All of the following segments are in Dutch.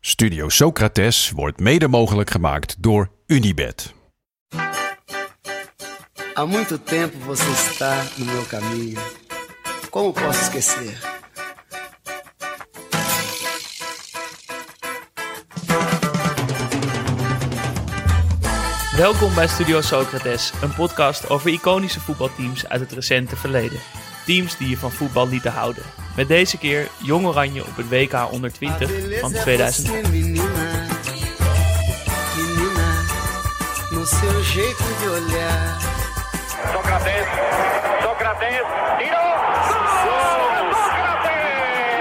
Studio Socrates wordt mede mogelijk gemaakt door Unibed. Há muito tempo você está no meu caminho. Como posso esquecer? Welkom bij Studio Socrates, een podcast over iconische voetbalteams uit het recente verleden. Teams die je van voetbal lieten houden. Met deze keer Jong Oranje op het WK onder 20 van 2000. é você, menina. Menina, no seu jeito de olhar. Socrates, Socrates, tirou! Gol! Socrates!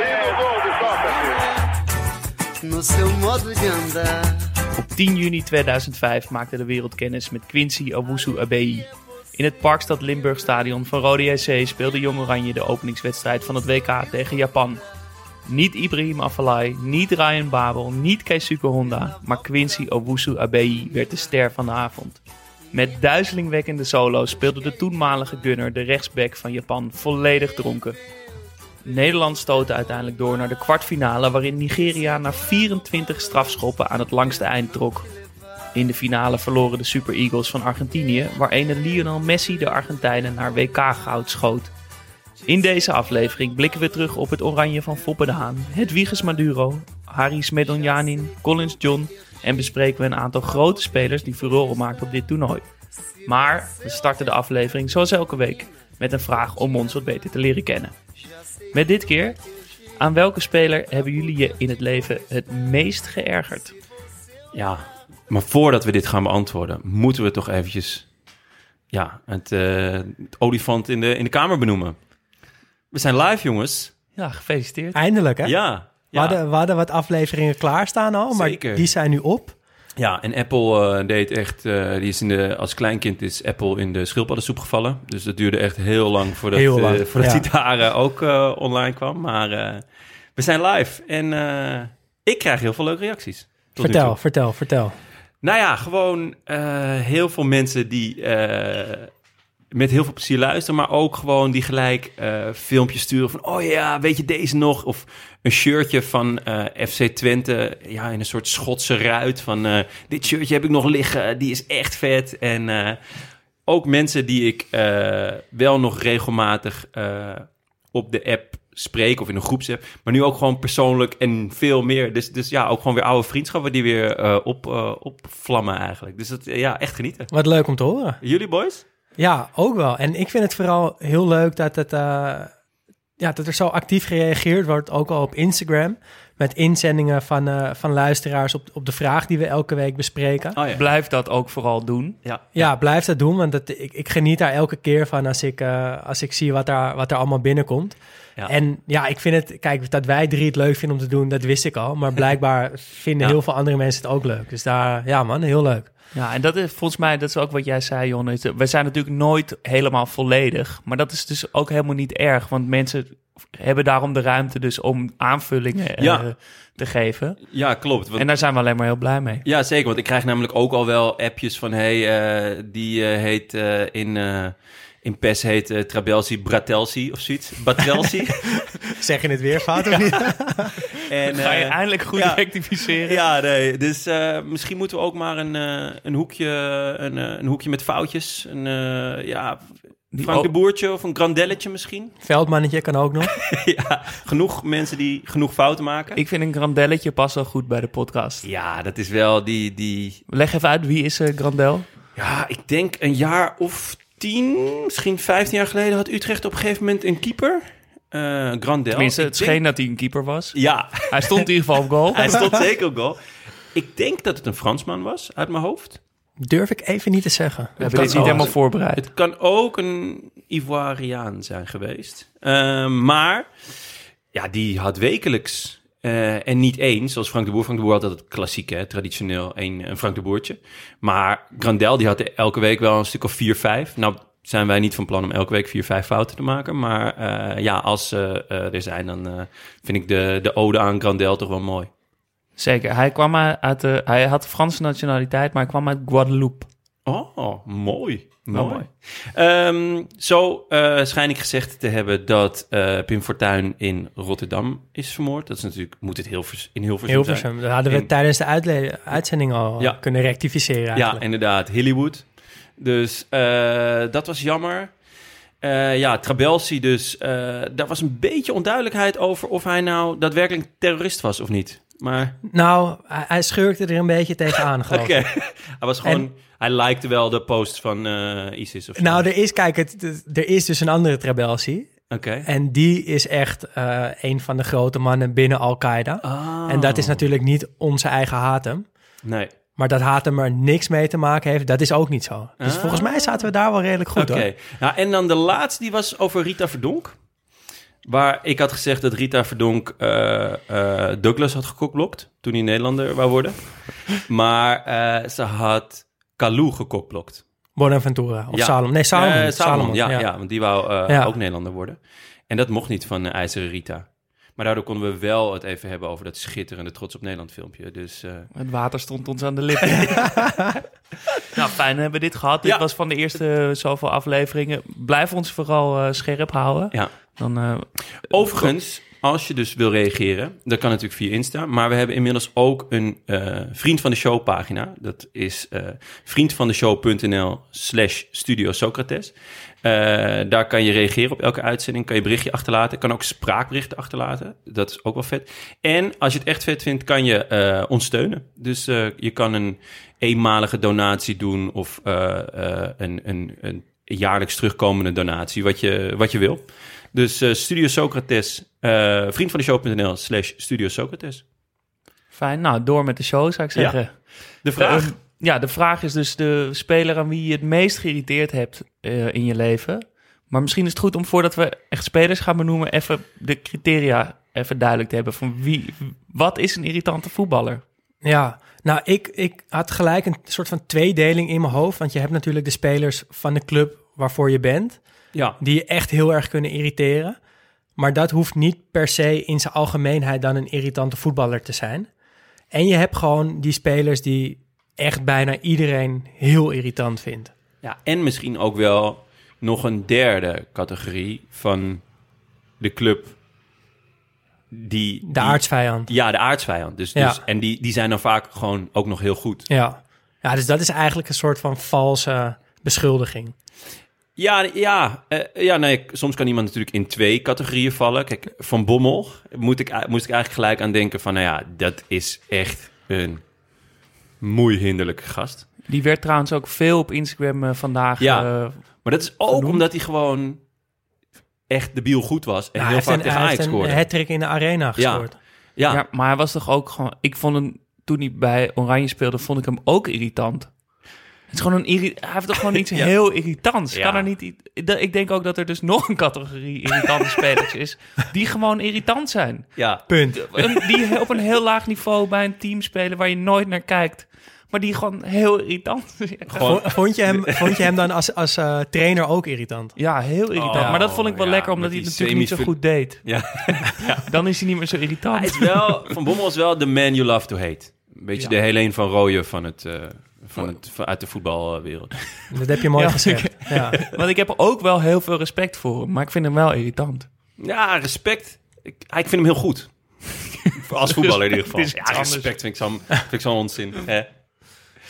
Lindo gol de Sócrates! No seu modo de andar. Op 10 juni 2005 maakte de wereld kennis met Quincy Owusu Abeyi. In het Parkstad Limburg Stadion van Rode JC speelde Jong Oranje de openingswedstrijd van het WK tegen Japan. Niet Ibrahim Afellay, niet Ryan Babel, niet Keisuke Honda, maar Quincy Owusu Abeyi werd de ster van de avond. Met duizelingwekkende solo's speelde de toenmalige gunner de rechtsback van Japan volledig dronken. Nederland stootte uiteindelijk door naar de kwartfinale, waarin Nigeria na 24 strafschoppen aan het langste eind trok. In de finale verloren de Super Eagles van Argentinië, waar ene Lionel Messi de Argentijnen naar WK-goud schoot. In deze aflevering blikken we terug op het oranje van Foppe de Haan, Hedwiges Maduro, Harry Smedonjanin, Collins John en bespreken we een aantal grote spelers die furoren maakten op dit toernooi. Maar we starten de aflevering zoals elke week met een vraag om ons wat beter te leren kennen. Met dit keer, aan welke speler hebben jullie je in het leven het meest geërgerd? Ja, maar voordat we dit gaan beantwoorden, moeten we toch eventjes ja, het, eh, het olifant in de, in de kamer benoemen. We zijn live, jongens. Ja, gefeliciteerd. Eindelijk, hè? Ja, ja. We, hadden, we hadden wat afleveringen klaarstaan al, maar Zeker. die zijn nu op. ja en Apple eh, deed echt, eh, die is in de, als kleinkind is Apple in de schildpaddensoep gevallen. Dus dat duurde echt heel lang voordat, Heel eh, lang, voordat ja. die daar eh, ook eh, online kwam. Maar eh, we zijn live en eh, ik krijg heel veel leuke reacties. tot nu toe. Vertel, vertel, vertel. Nou ja, gewoon eh, heel veel mensen die eh, met heel veel plezier luisteren, maar ook gewoon die gelijk eh, filmpjes sturen van, oh ja, weet je deze nog? Of een shirtje van eh, FC Twente, ja, in een soort Schotse ruit van, eh, dit shirtje heb ik nog liggen, die is echt vet. En eh, ook mensen die ik eh, wel nog regelmatig eh, op de app spreek of in een groepsapp, maar nu ook gewoon persoonlijk en veel meer. Dus, dus ja, ook gewoon weer oude vriendschappen die weer eh, op, eh, opvlammen eigenlijk. Dus dat, ja, echt genieten. Wat leuk om te horen. Jullie boys? Ja, ook wel. En ik vind het vooral heel leuk dat, het, eh, ja, dat er zo actief gereageerd wordt, ook al op Instagram. Met inzendingen van, eh, van luisteraars op, op de vraag die we elke week bespreken. Oh ja. Blijf dat ook vooral doen. Ja, blijf dat doen, want dat, ik, ik geniet daar elke keer van als ik, eh, als ik zie wat, daar, wat er allemaal binnenkomt. Ja. En ja, ik vind het, kijk, dat wij drie het leuk vinden om te doen, dat wist ik al. Maar blijkbaar vinden Ja. heel veel andere mensen het ook leuk. Dus daar, ja man, heel leuk. Ja, en dat is volgens mij, dat is ook wat jij zei, Jon. is dat- We zijn natuurlijk nooit helemaal volledig. Maar dat is dus ook helemaal niet erg. Want mensen hebben daarom de ruimte dus om aanvullingen eh, Ja. te geven. Ja, klopt. Want- En daar zijn we alleen maar heel blij mee. Ja, zeker. Want ik krijg namelijk ook al wel appjes van... hey, eh, die eh, heet eh, in, eh, in PES heet eh, Trabelsi Bratelsi of zoiets. Batrelsi. Zeg je het weer fout of niet? en, Ga je eh, eindelijk goed ja. rectificeren? ja, nee. Dus eh, misschien moeten we ook maar een, eh, een, hoekje, een, eh, een hoekje met foutjes. Een, eh, ja, Frank de Boertje of een Grandelletje misschien. Veldmannetje kan ook nog. ja, genoeg mensen die genoeg fouten maken. Ik vind een grandelletje past wel goed bij de podcast. Ja, dat is wel die, die... Leg even uit, wie is eh, Grandel? Ja, ik denk een jaar of tien, misschien vijftien jaar geleden... had Utrecht op een gegeven moment een keeper. eh Grandel. Tenminste, Ik het denk- scheen dat hij een keeper was. Ja, Hij stond in ieder geval op goal. hij stond zeker op goal. Ik denk dat het een Fransman was, uit mijn hoofd. Durf ik even niet te zeggen. We hebben dit niet helemaal voorbereid. Het kan ook een Ivoiriaan zijn geweest. Eh, maar ja, die had wekelijks. eh, en niet één, zoals Frank de Boer. Frank de Boer had altijd het klassieke, hè, traditioneel, één, een Frank de Boertje. Maar Grandel, die had elke week wel een stuk of vier, vijf. Nou zijn wij niet van plan om elke week vier, vijf fouten te maken. Maar eh, ja, als ze eh, er zijn, dan eh, vind ik de, de ode aan Grandel toch wel mooi. Zeker. Hij, kwam uit, uit de, hij had Franse nationaliteit, maar hij kwam uit Guadeloupe. Oh, mooi. Mooi. Ehm, zo eh schijn ik gezegd te hebben dat eh, Pim Fortuyn in Rotterdam is vermoord. Dat is natuurlijk, moet het Hilvers, in Hilversum, Heel zijn. Dat hadden we In- tijdens de uitle- uitzending al Ja. kunnen rectificeren Ja, eigenlijk. inderdaad. Hollywood. Dus eh, dat was jammer. Eh, ja, Trabelsi dus. eh, daar was een beetje onduidelijkheid over of hij nou daadwerkelijk terrorist was of niet. Maar, Nou, hij, hij schurkte er een beetje tegenaan, oké. geloof ik. hij was gewoon... Hij likte wel de post van eh, ISIS of zo. Nou, er is, kijk, het, het- er is dus een andere Trabelsi. Oké. En die is echt eh, een van de grote mannen binnen Al-Qaeda. Oh. En dat is natuurlijk niet onze eigen hatem. Ah. Nee. Maar dat hatem er niks mee te maken heeft, dat is ook niet zo. Dus Ah. volgens mij zaten we daar wel redelijk goed Oké. hoor. Nou, en dan de laatste, die was over Rita Verdonk. Waar ik had gezegd dat Rita Verdonk eh, eh, Douglas had gekokblokt. Toen hij Nederlander wou worden. Maar eh, ze had Kalou gekokblokt. Bonaventura of Ja. Salom. Nee, Eh, Salomon. Eh, Salomon, ja, ja. want die wou eh, Ja. ook Nederlander worden. En dat mocht niet van eh, IJzeren Rita. Maar daardoor konden we wel het even hebben over dat schitterende Trots op Nederland filmpje. Dus eh, Het water stond ons aan de lippen. nou, fijn hebben we dit gehad. Dit Ja. was van de eerste eh, zoveel afleveringen. Blijf ons vooral eh, scherp houden. ja, Dan, eh, Overigens, als je dus wil reageren, dat kan natuurlijk via Insta. Maar we hebben inmiddels ook een eh, vriend van de show pagina. Dat is eh vriendvandeshow.nl slash studio Socrates. Eh, daar kan je reageren op elke uitzending. Kan je berichtje achterlaten. Kan ook spraakberichten achterlaten. Dat is ook wel vet. En als je het echt vet vindt, kan je eh, ons steunen. Dus eh, je kan een eenmalige donatie doen of eh, eh, een, een, een jaarlijks terugkomende donatie. Wat je, wat je wil. Dus eh, Studio Socrates, eh vriend van de show.nl slash Studio Socrates. fijn. Nou, door met de show zou ik Ja. zeggen. De vraag. Ehm, ja, de vraag is dus de speler aan wie je het meest geïrriteerd hebt eh, in je leven. Maar misschien is het goed om voordat we echt spelers gaan benoemen, even de criteria even duidelijk te hebben. Van wie, wat is een irritante voetballer? Ja, nou, ik, ik had gelijk een soort van tweedeling in mijn hoofd. Want je hebt natuurlijk de spelers van de club waarvoor je bent, ja. die je echt heel erg kunnen irriteren. Maar dat hoeft niet per se in zijn algemeenheid dan een irritante voetballer te zijn. En je hebt gewoon die spelers die echt bijna iedereen heel irritant vindt. ja. En misschien ook wel nog een derde categorie van de club. Die, De die- aardsvijand. Ja, de aardsvijand. Dus, Ja. dus, en die, die zijn dan vaak gewoon ook nog heel goed. Ja. ja, dus dat is eigenlijk een soort van valse beschuldiging. Ja, ja, eh, ja nee, soms kan iemand natuurlijk in twee categorieën vallen. Kijk, Van Bommel moet ik, moest ik eigenlijk gelijk aan denken van... nou ja, dat is echt een moeihinderlijke gast. Die werd trouwens ook veel op Instagram eh, vandaag. Ja. eh, Maar dat is ook omdat hij gewoon echt debiel goed was... en Nou, heel hij vaak heeft een, tegen hij Ajax heeft een scoorde. hat-trick in de arena gescoord. ja, ja, maar hij was toch ook gewoon. Ik vond hem toen hij bij Oranje speelde, vond ik hem ook irritant. Het is gewoon een irri- hij heeft toch gewoon iets Ja. heel irritants. Ja. Kan er niet, i- dat- ik denk ook dat er dus nog een categorie irritante spelers is die gewoon irritant zijn. ja. Punt. Een- die op een heel laag niveau bij een team spelen waar je nooit naar kijkt, maar die gewoon heel irritant. zijn. Gewoon, Vo- Vond je hem, vond je hem dan als, als eh, trainer ook irritant? Ja, heel irritant. Oh, maar dat vond ik wel ja, lekker, omdat met hij het die natuurlijk niet zo semi-fun- goed deed. ja. Dan is hij niet meer zo irritant. Hij is wel, Van Bommel is wel de man you love to hate. Een beetje de Helene van Rooyen van het, eh, van het, van, uit de voetbalwereld. Dat heb je mooi Ja, gezegd. Ja. Want ik heb ook wel heel veel respect voor hem, maar ik vind hem wel irritant. Ja, respect. Ik, ah, ik vind hem heel goed. Als voetballer in ieder geval. Het is Ja, iets anders. respect vind ik zo'n vind ik zo'n onzin. Hè?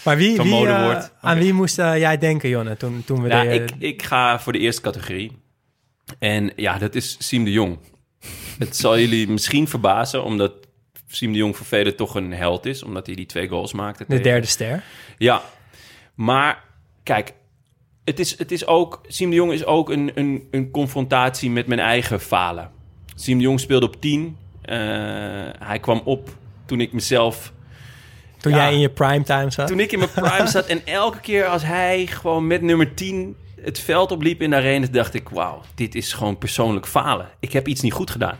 Maar wie, Zo'n wie, eh, modewoord. aan wie moest eh, jij denken, Jonne, toen, toen we Ja, de... ik, ik ga voor de eerste categorie. En ja, dat is Siem de Jong. Het zal jullie misschien verbazen, omdat Siem de Jong voor velen toch een held is. Omdat hij die twee goals maakte. de tegen- derde ster. Ja, maar kijk, het is, het is ook. Siem de Jong is ook een, een, een confrontatie met mijn eigen falen. Siem de Jong speelde op 10. Eh, hij kwam op toen ik mezelf Toen Ja. jij in je primetime zat. toen ik in mijn prime zat en elke keer als hij gewoon met nummer 10 het veld opliep in de arena, dacht ik, wauw, dit is gewoon persoonlijk falen. Ik heb iets niet goed gedaan.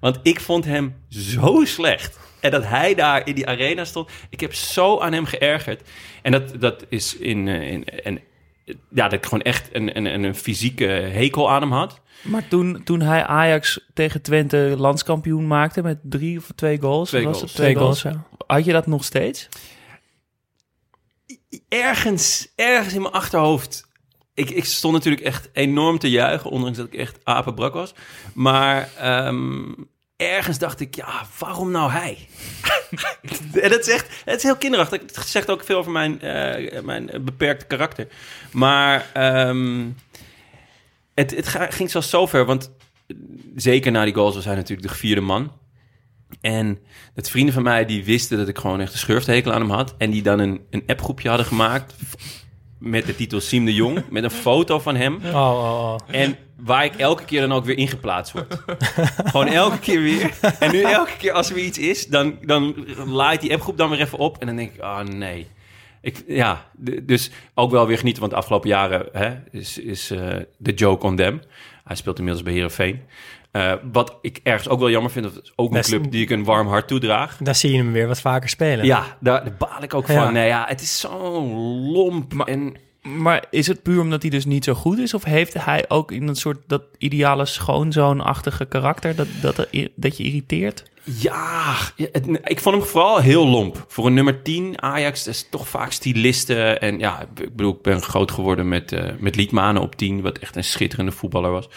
Want ik vond hem zo slecht. En dat hij daar in die arena stond, ik heb zo aan hem geërgerd. En dat, dat is in, eh, in, en eh, ja, dat ik gewoon echt een, een, een, een fysieke hekel aan hem had. Maar toen, toen hij Ajax tegen Twente landskampioen maakte met drie of twee goals, Twee was goals. het twee, Twee goals. goals, Had je dat nog steeds? ergens, ergens in mijn achterhoofd. Ik, ik stond natuurlijk echt enorm te juichen, ondanks dat ik echt apenbrak was. Maar ehm, ergens dacht ik, ja, waarom nou hij? en dat is echt, het is heel kinderachtig. Het zegt ook veel over mijn, eh, mijn beperkte karakter. Maar ehm, het, het ga- ging zelfs zo ver, want zeker na die goals was hij natuurlijk de vierde man. En dat vrienden van mij die wisten dat ik gewoon echt een schurfthekel aan hem had. En die dan een, een appgroepje hadden gemaakt f- met de titel Siem de Jong. Met een foto van hem. Oh, oh, oh. En waar ik elke keer dan ook weer ingeplaatst word. Gewoon elke keer weer. En nu elke keer als er weer iets is, dan, dan laait die appgroep dan weer even op. En dan denk ik, oh nee. Ik, ja, d- dus ook wel weer genieten, want de afgelopen jaren hè, is, is eh, de joke on them. Hij speelt inmiddels bij Herenveen. Eh wat ik ergens ook wel jammer vind, dat is ook een Best- club die ik een warm hart toedraag. Dan zie je hem weer wat vaker spelen. Ja, daar, daar baal ik ook van. Ja. Nee, ja, het is zo lomp. en Maar is het puur omdat hij dus niet zo goed is? Of heeft hij ook in een soort dat ideale schoonzoonachtige karakter dat, dat, dat je irriteert? Ja, het- ik vond hem vooral heel lomp. Voor een nummer 10 Ajax dat is toch vaak stylisten. En ja, ik bedoel, ik ben groot geworden met, eh met Liedmanen op 10, wat echt een schitterende voetballer was.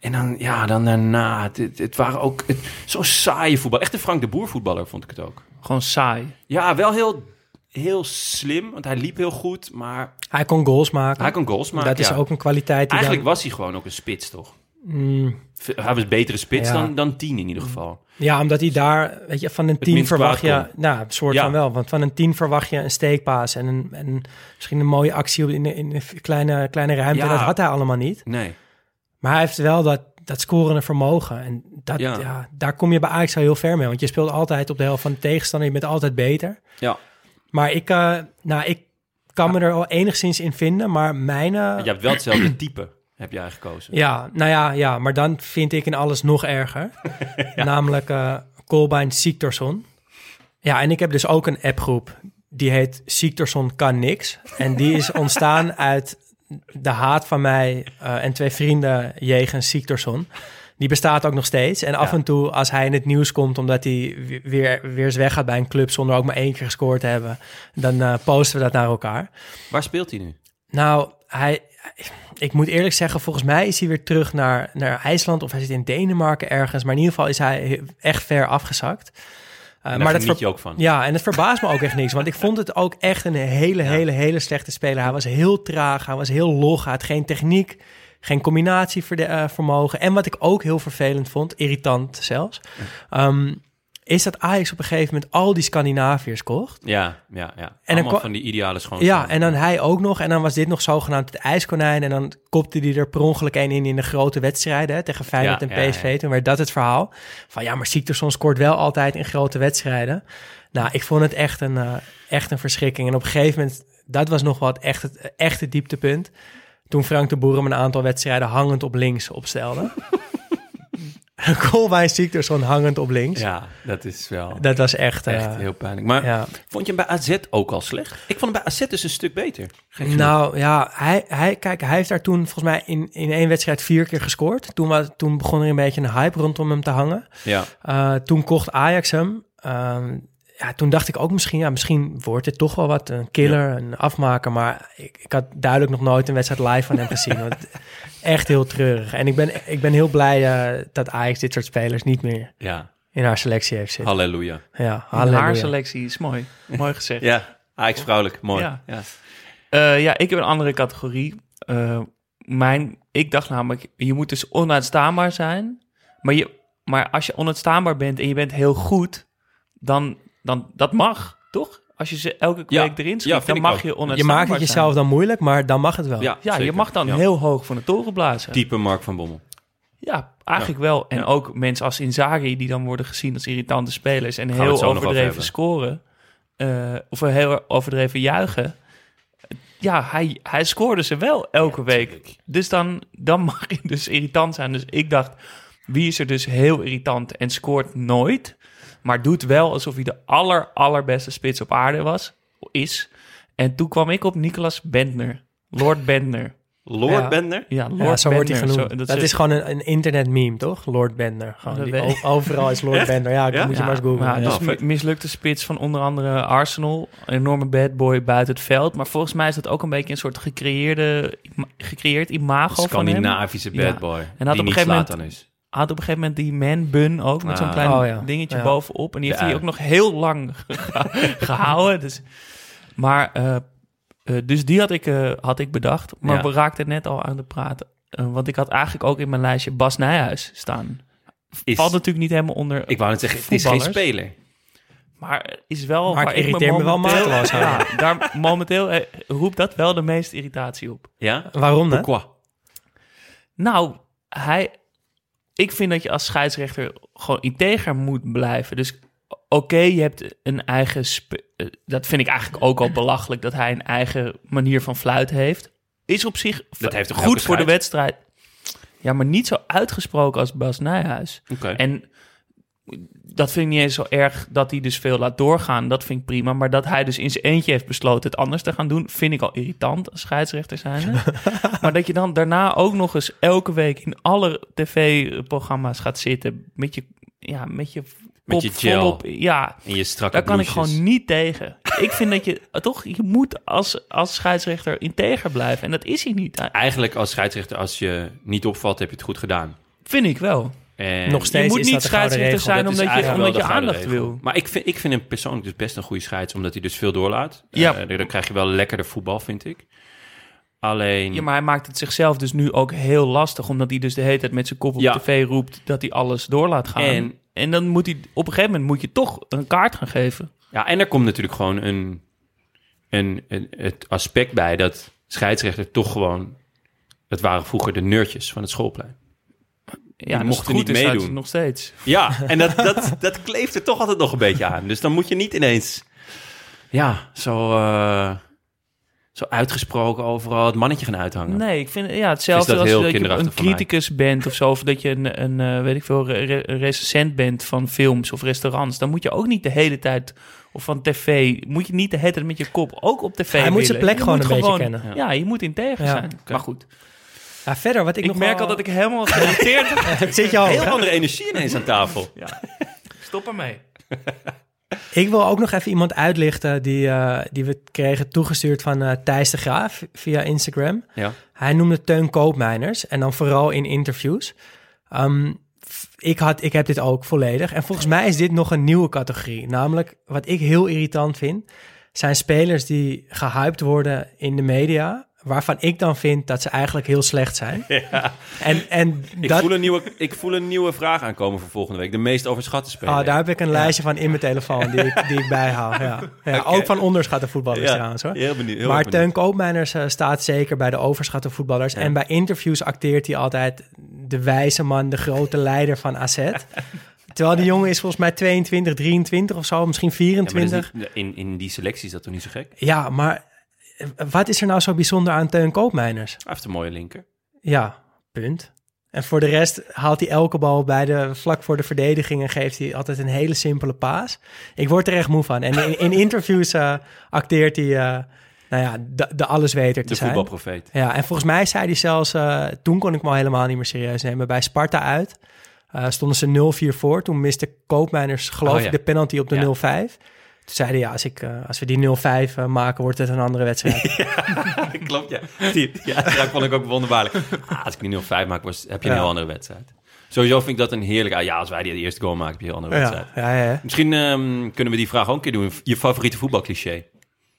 En dan, ja, dan daarna, het, het- het waren ook het- zo'n saaie voetbal. Echt een Frank de Boer voetballer vond ik het ook. Gewoon saai. Ja, wel heel, heel slim, want hij liep heel goed, maar Hij kon goals maken. hij kon goals maken. dat is ja. ook een kwaliteit die Eigenlijk dan... was hij gewoon ook een spits, toch? Mm, Hij was een betere spits Ja. dan, dan 10 in ieder geval. ja, omdat hij daar, weet je, van een team minst verwacht kwaad je... Nou, een soort Ja. van wel. Want van een team verwacht je een steekpaas en, een, en misschien een mooie actie op- in, een- in een kleine, kleine ruimte. Ja. Dat had hij allemaal niet. Nee. Maar hij heeft wel dat, dat scorende vermogen. En dat, Ja. ja. daar kom je bij Ajax al heel ver mee. Want je speelt altijd op de helft van de tegenstander. Je bent altijd beter. Ja. Maar ik, eh, nou, ik kan me er al enigszins in vinden. Maar mijn... eh, Je ja. hebt wel hetzelfde type, heb jij gekozen. nou ja, ja. Maar dan vind ik in alles nog erger. Namelijk eh Kolbein Siktorsson. Ja, en ik heb dus ook een appgroep. Die heet Siktorsson kan niks. En die is ontstaan uit de haat van mij eh, en twee vrienden jegens Siktorsson. Die bestaat ook nog steeds. En af en toe, als hij in het nieuws komt, omdat hij we- weer, weer eens weggaat bij een club zonder ook maar één keer gescoord te hebben, dan eh, posten we dat naar elkaar. Waar speelt hij nu? Nou, hij, ik moet eerlijk zeggen, volgens mij is hij weer terug naar, naar IJsland of hij zit in Denemarken ergens. Maar in ieder geval is hij he- echt ver afgezakt. Eh, Daar geniet ver- je ook van. Ja, en het verbaast me ook echt niks. Want ik vond het ook echt een hele, hele, hele slechte speler. Hij was heel traag, hij was heel log, hij had geen techniek, geen combinatievermogen. En wat ik ook heel vervelend vond, irritant zelfs, ehm, is dat Ajax op een gegeven moment al die Scandinaviërs kocht. Ja, ja, ja. dan Allemaal kwa- van die ideale schoonzoon. Ja, en dan hij ook nog. En dan was dit nog zogenaamd het ijskonijn. En dan kopte hij er per ongeluk één in in de grote wedstrijden. hè, Tegen Feyenoord Ja, ja, en PSV. ja. Toen werd dat het verhaal. Van ja, maar Siktersson scoort wel altijd in grote wedstrijden. Nou, ik vond het echt een, eh, echt een verschrikking. En op een gegeven moment, dat was nog wat echt het echte dieptepunt. Toen Frank de Boer hem een aantal wedstrijden hangend op links opstelde. Goal bij Siktersson hangend op links. Ja, dat is wel Dat was echt... eh, echt heel pijnlijk. Maar ja. vond je hem bij AZ ook al slecht? Ik vond hem bij AZ dus een stuk beter. Geen genoeg. Nou ja, hij, hij, kijk, hij heeft daar toen volgens mij in, in één wedstrijd vier keer gescoord. Toen, was, toen begon er een beetje een hype rondom hem te hangen. Ja, Eh, toen kocht Ajax hem. Ehm, ja, toen dacht ik ook misschien, ja, misschien wordt het toch wel wat. Een killer, een afmaker. Maar ik, ik had duidelijk nog nooit een wedstrijd live van hem gezien. want echt heel treurig. En ik ben, ik ben heel blij eh, dat Ajax dit soort spelers niet meer ja. in haar selectie heeft zitten. Halleluja. Ja, In haar halleluja. selectie is mooi. Mooi gezegd. Ja, Ajax vrouwelijk. Mooi. Ja. Ja. Eh, ja, ik heb een andere categorie. Eh, mijn, ik dacht namelijk, je moet dus onuitstaanbaar zijn. Maar, je, maar als je onuitstaanbaar bent en je bent heel goed, dan, dan dat mag, toch? Als je ze elke Ja. week erin Ja, schiet, vind dan ik mag ook. je Je onuitstaanbaar maakt het zijn. jezelf dan moeilijk, maar dan mag het wel. Ja, Ja, je zeker. mag dan Ja. heel hoog van de toren blazen. Type Mark van Bommel. Ja, eigenlijk wel. En ook mensen als Inzaghi, die dan worden gezien als irritante spelers en we het heel zo nog over overdreven hebben. scoren. eh, of heel overdreven juichen. Ja, hij, hij scoorde ze wel elke week. Dus dan, dan mag je dus irritant zijn. Dus ik dacht, wie is er dus heel irritant en scoort nooit, maar doet wel alsof hij de aller, allerbeste spits op aarde was, is. En toen kwam ik op Nicolas Bentner, Lord Bentner. Lord Ja. Bender? Ja, Lord ja, zo wordt hij Bender, genoemd. zo- dat zegt- is gewoon een, een internet meme, toch? Lord Bender. Gewoon, Dat die weet o- overal is Lord Echt? Bender. Ja, Ja? moet je maar eens googlen. maar ja. dus Oh, vet. mi- mislukte spits van onder andere Arsenal. Een enorme bad boy buiten het veld. Maar volgens mij is dat ook een beetje een soort gecreëerde, ima- gecreëerd imago van hem. Hij Scandinavische Ja. bad boy. En had die op een niet gegeven moment- Zlatan is. had op een gegeven moment die man bun ook. Met zo'n Ah. klein Oh, ja. dingetje Ja. bovenop. En die heeft Ja. hij ook nog heel lang gehouden. Dus, maar, eh, eh, dus die had ik, eh, had ik bedacht. Maar Ja. we raakten net al aan het praten. Eh, want ik had eigenlijk ook in mijn lijstje Bas Nijhuis staan. Is- Valt natuurlijk niet helemaal onder. Ik wou net zeggen, het is geen voetballers. speler. Maar is wel. Maar het waar ik irriteert me wel momenteel- mateloos aan. Ja, daar momenteel eh, roept dat wel de meeste irritatie op. Ja? Waarom dan? Qua. Nou, hij. Ik vind dat je als scheidsrechter gewoon integer moet blijven. Dus oké, je hebt een eigen. spe- eh, Dat vind ik eigenlijk ook al belachelijk dat hij een eigen manier van fluiten heeft. Is op zich Dat heeft toch elke goed voor de wedstrijd. Ja, maar niet zo uitgesproken als Bas Nijhuis. Oké. En dat vind ik niet eens zo erg dat hij dus veel laat doorgaan. Dat vind ik prima. Maar dat hij dus in zijn eentje heeft besloten het anders te gaan doen, vind ik al irritant als scheidsrechter zijn. maar dat je dan daarna ook nog eens elke week in alle tv-programma's gaat zitten met je, ja, met je kop Met je gel. volop- Ja, En je strakke daar kan ik bloesjes. gewoon niet tegen. ik vind dat je toch, je moet als, als scheidsrechter integer blijven. En dat is hij niet. Eigenlijk als scheidsrechter, als je niet opvalt, heb je het goed gedaan. Vind ik wel. En Nog steeds Je moet is niet dat de gouden scheidsrechter regel. zijn Dat is omdat je, eigenlijk wel omdat je de gouden aandacht regel. wil. Maar ik vind, ik vind hem persoonlijk dus best een goede scheids, omdat hij dus veel doorlaat. Ja. Eh, dan krijg je wel lekkerder voetbal, vind ik. Alleen... Ja, maar hij maakt het zichzelf dus nu ook heel lastig. Omdat hij dus de hele tijd met zijn kop op Ja. tv roept dat hij alles door laat gaan. En- En, dan moet hij op een gegeven moment moet je toch een kaart gaan geven. Ja, en er komt natuurlijk gewoon een, een, een- het aspect bij dat scheidsrechter toch gewoon. Het waren vroeger de nerdjes van het schoolplein. Ja, Die dus mochten het goed niet is dat meedoen. ze Nog steeds. Ja, en dat, dat, dat kleeft er toch altijd nog een beetje aan. Dus dan moet je niet ineens. Ja, zo, eh, zo uitgesproken overal het mannetje gaan uithangen. Nee, ik vind ja, hetzelfde Is dat als heel dat je kinderachtig een van mij? criticus bent of zo. Of dat je een, een eh, weet ik veel, re- re- een recensent bent van films of restaurants. Dan moet je ook niet de hele tijd, of van tv, moet je niet de hele tijd met je kop ook op tv Hij moet willen. zijn plek Je gewoon moet een beetje kennen. Ja, je moet integer Ja. zijn. Maar goed, Ja, verder, wat ik, ik nog merk al wel- dat ik helemaal geïrriteerd ben. Het zit je al. Heel andere energie ineens aan tafel. Stop ermee. Ik wil ook nog even iemand uitlichten die, eh, die we kregen toegestuurd van eh Thijs de Graaf via Instagram. Ja. Hij noemde Teun Koopmeiners en dan vooral in interviews. Ehm, f- ik, had, ik heb dit ook volledig. En volgens mij is dit nog een nieuwe categorie. Namelijk, wat ik heel irritant vind, zijn spelers die gehyped worden in de media... waarvan ik dan vind dat ze eigenlijk heel slecht zijn. En, en Ik, dat, voel een nieuwe, ik voel een nieuwe vraag aankomen voor volgende week. De meest overschatte speler. Oh, daar heb ik een lijstje van in mijn telefoon die ik, die ik bijhoud. Ja. Ja, Ook van onderschatte voetballers Ja, trouwens hoor. heel benieuwd, heel maar erg benieuwd. Teun Koopmeiners eh, staat zeker bij de overschatte voetballers. En bij interviews acteert hij altijd de wijze man, de grote leider van AZ. Terwijl die jongen is volgens mij 22, 23 of zo, misschien Ja, maar 24. dat is niet- in, in die selectie is dat toch niet zo gek? Hij Ja, maar eh, wat is er nou zo bijzonder aan Teun Koopmeiners? heeft een mooie linker. Ja, punt. En voor de rest haalt hij elke bal bij de, vlak voor de verdediging en geeft hij altijd een hele simpele paas. Ik word er echt moe van. En in, in interviews eh, acteert hij, eh, nou ja, de, de allesweter te De zijn. voetbalprofeet. Ja, en volgens mij zei hij zelfs, eh, toen kon ik me al helemaal niet meer serieus nemen. Bij Sparta uit eh, stonden ze 0-4 voor. Toen miste Koopmeiners, geloof Oh, ja. ik, de penalty op de Ja. 0-5. Toen zei hij, ja, als, ik, eh, als we die 0-5 eh, maken, wordt het een andere wedstrijd. Klopt, ja. Die, ja, dat vond ik ook wonderbaarlijk. Ah, als ik nu 0-5 maak, was, heb je een Ja. heel andere wedstrijd. Sowieso vind ik dat een heerlijke... ah, Ja, als wij die de eerste goal maken, heb je een heel andere ja, wedstrijd. ja, ja, Misschien ehm, kunnen we die vraag ook een keer doen. Je favoriete voetbalcliché.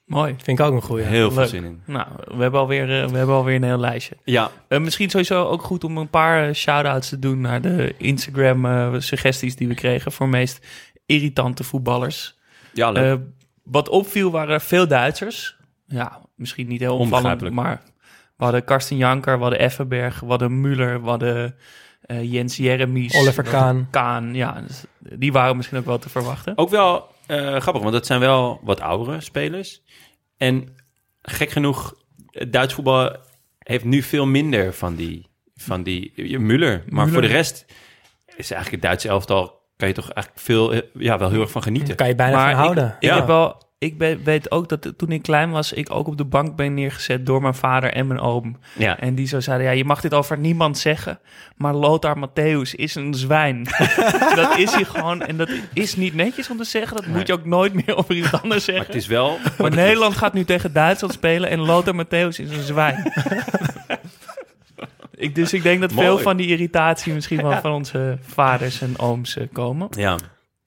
Mooi. vind ik ook een goeie. Heel veel Leuk. zin in. Nou, we hebben alweer, eh, we hebben alweer een heel lijstje. Ja, Eh, misschien sowieso ook goed om een paar eh, shout-outs te doen naar de Instagram-suggesties die we kregen voor meest irritante voetballers. ja leuk. Eh, wat opviel waren veel Duitsers. Ja, misschien niet heel opvallend, Onbegrijpelijk. maar we hadden Karsten Janker, we hadden Effenberg, we hadden Müller, we hadden eh, Jens Jeremies. Oliver Kaan. Kaan, ja. dus die waren misschien ook wel te verwachten. Ook wel eh, grappig, want dat zijn wel wat oudere spelers. En gek genoeg, het Duits voetbal heeft nu veel minder van die, van die ja, Müller. Maar Müller. voor de rest is eigenlijk het Duitse elftal... kan je toch eigenlijk veel, eh, ja, wel heel erg van genieten. Kan je bijna Maar van houden. Ik Ja. heb wel. ik ben- weet ook dat toen ik klein was, ik ook op de bank ben neergezet door mijn vader en mijn oom. Ja. En die zo zeiden, ja, je mag dit over niemand zeggen, maar Lothar Matthäus is een zwijn. dat is hij gewoon, en dat is niet netjes om te zeggen. Dat moet je ook nooit meer over iets anders zeggen. Het is wel... Maar Nederland gaat nu tegen Duitsland spelen en Lothar Matthäus is een zwijn. ik, dus ik denk dat veel Mooi. van die irritatie misschien wel van onze vaders en ooms eh, komen. Ja.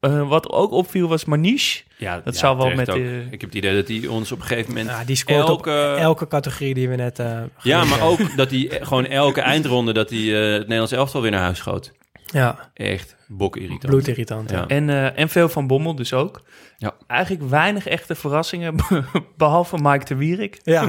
Eh, wat ook opviel was Maniche. ja, Dat ja, zou wel terecht met ook. de- Ik heb het idee dat hij ons op een gegeven moment... Ja, die scoort elke... op elke categorie die we net... eh, Ja, genoemd maar hebben. ook dat hij gewoon elke eindronde... dat hij eh, het Nederlands elftal weer naar huis schoot. Ja, Echt bokirritant. bloedirritant. Ja. Ja. En, eh, en veel van Bommel dus ook. Ja. Eigenlijk weinig echte verrassingen, behalve Mike de Wierik. Ja.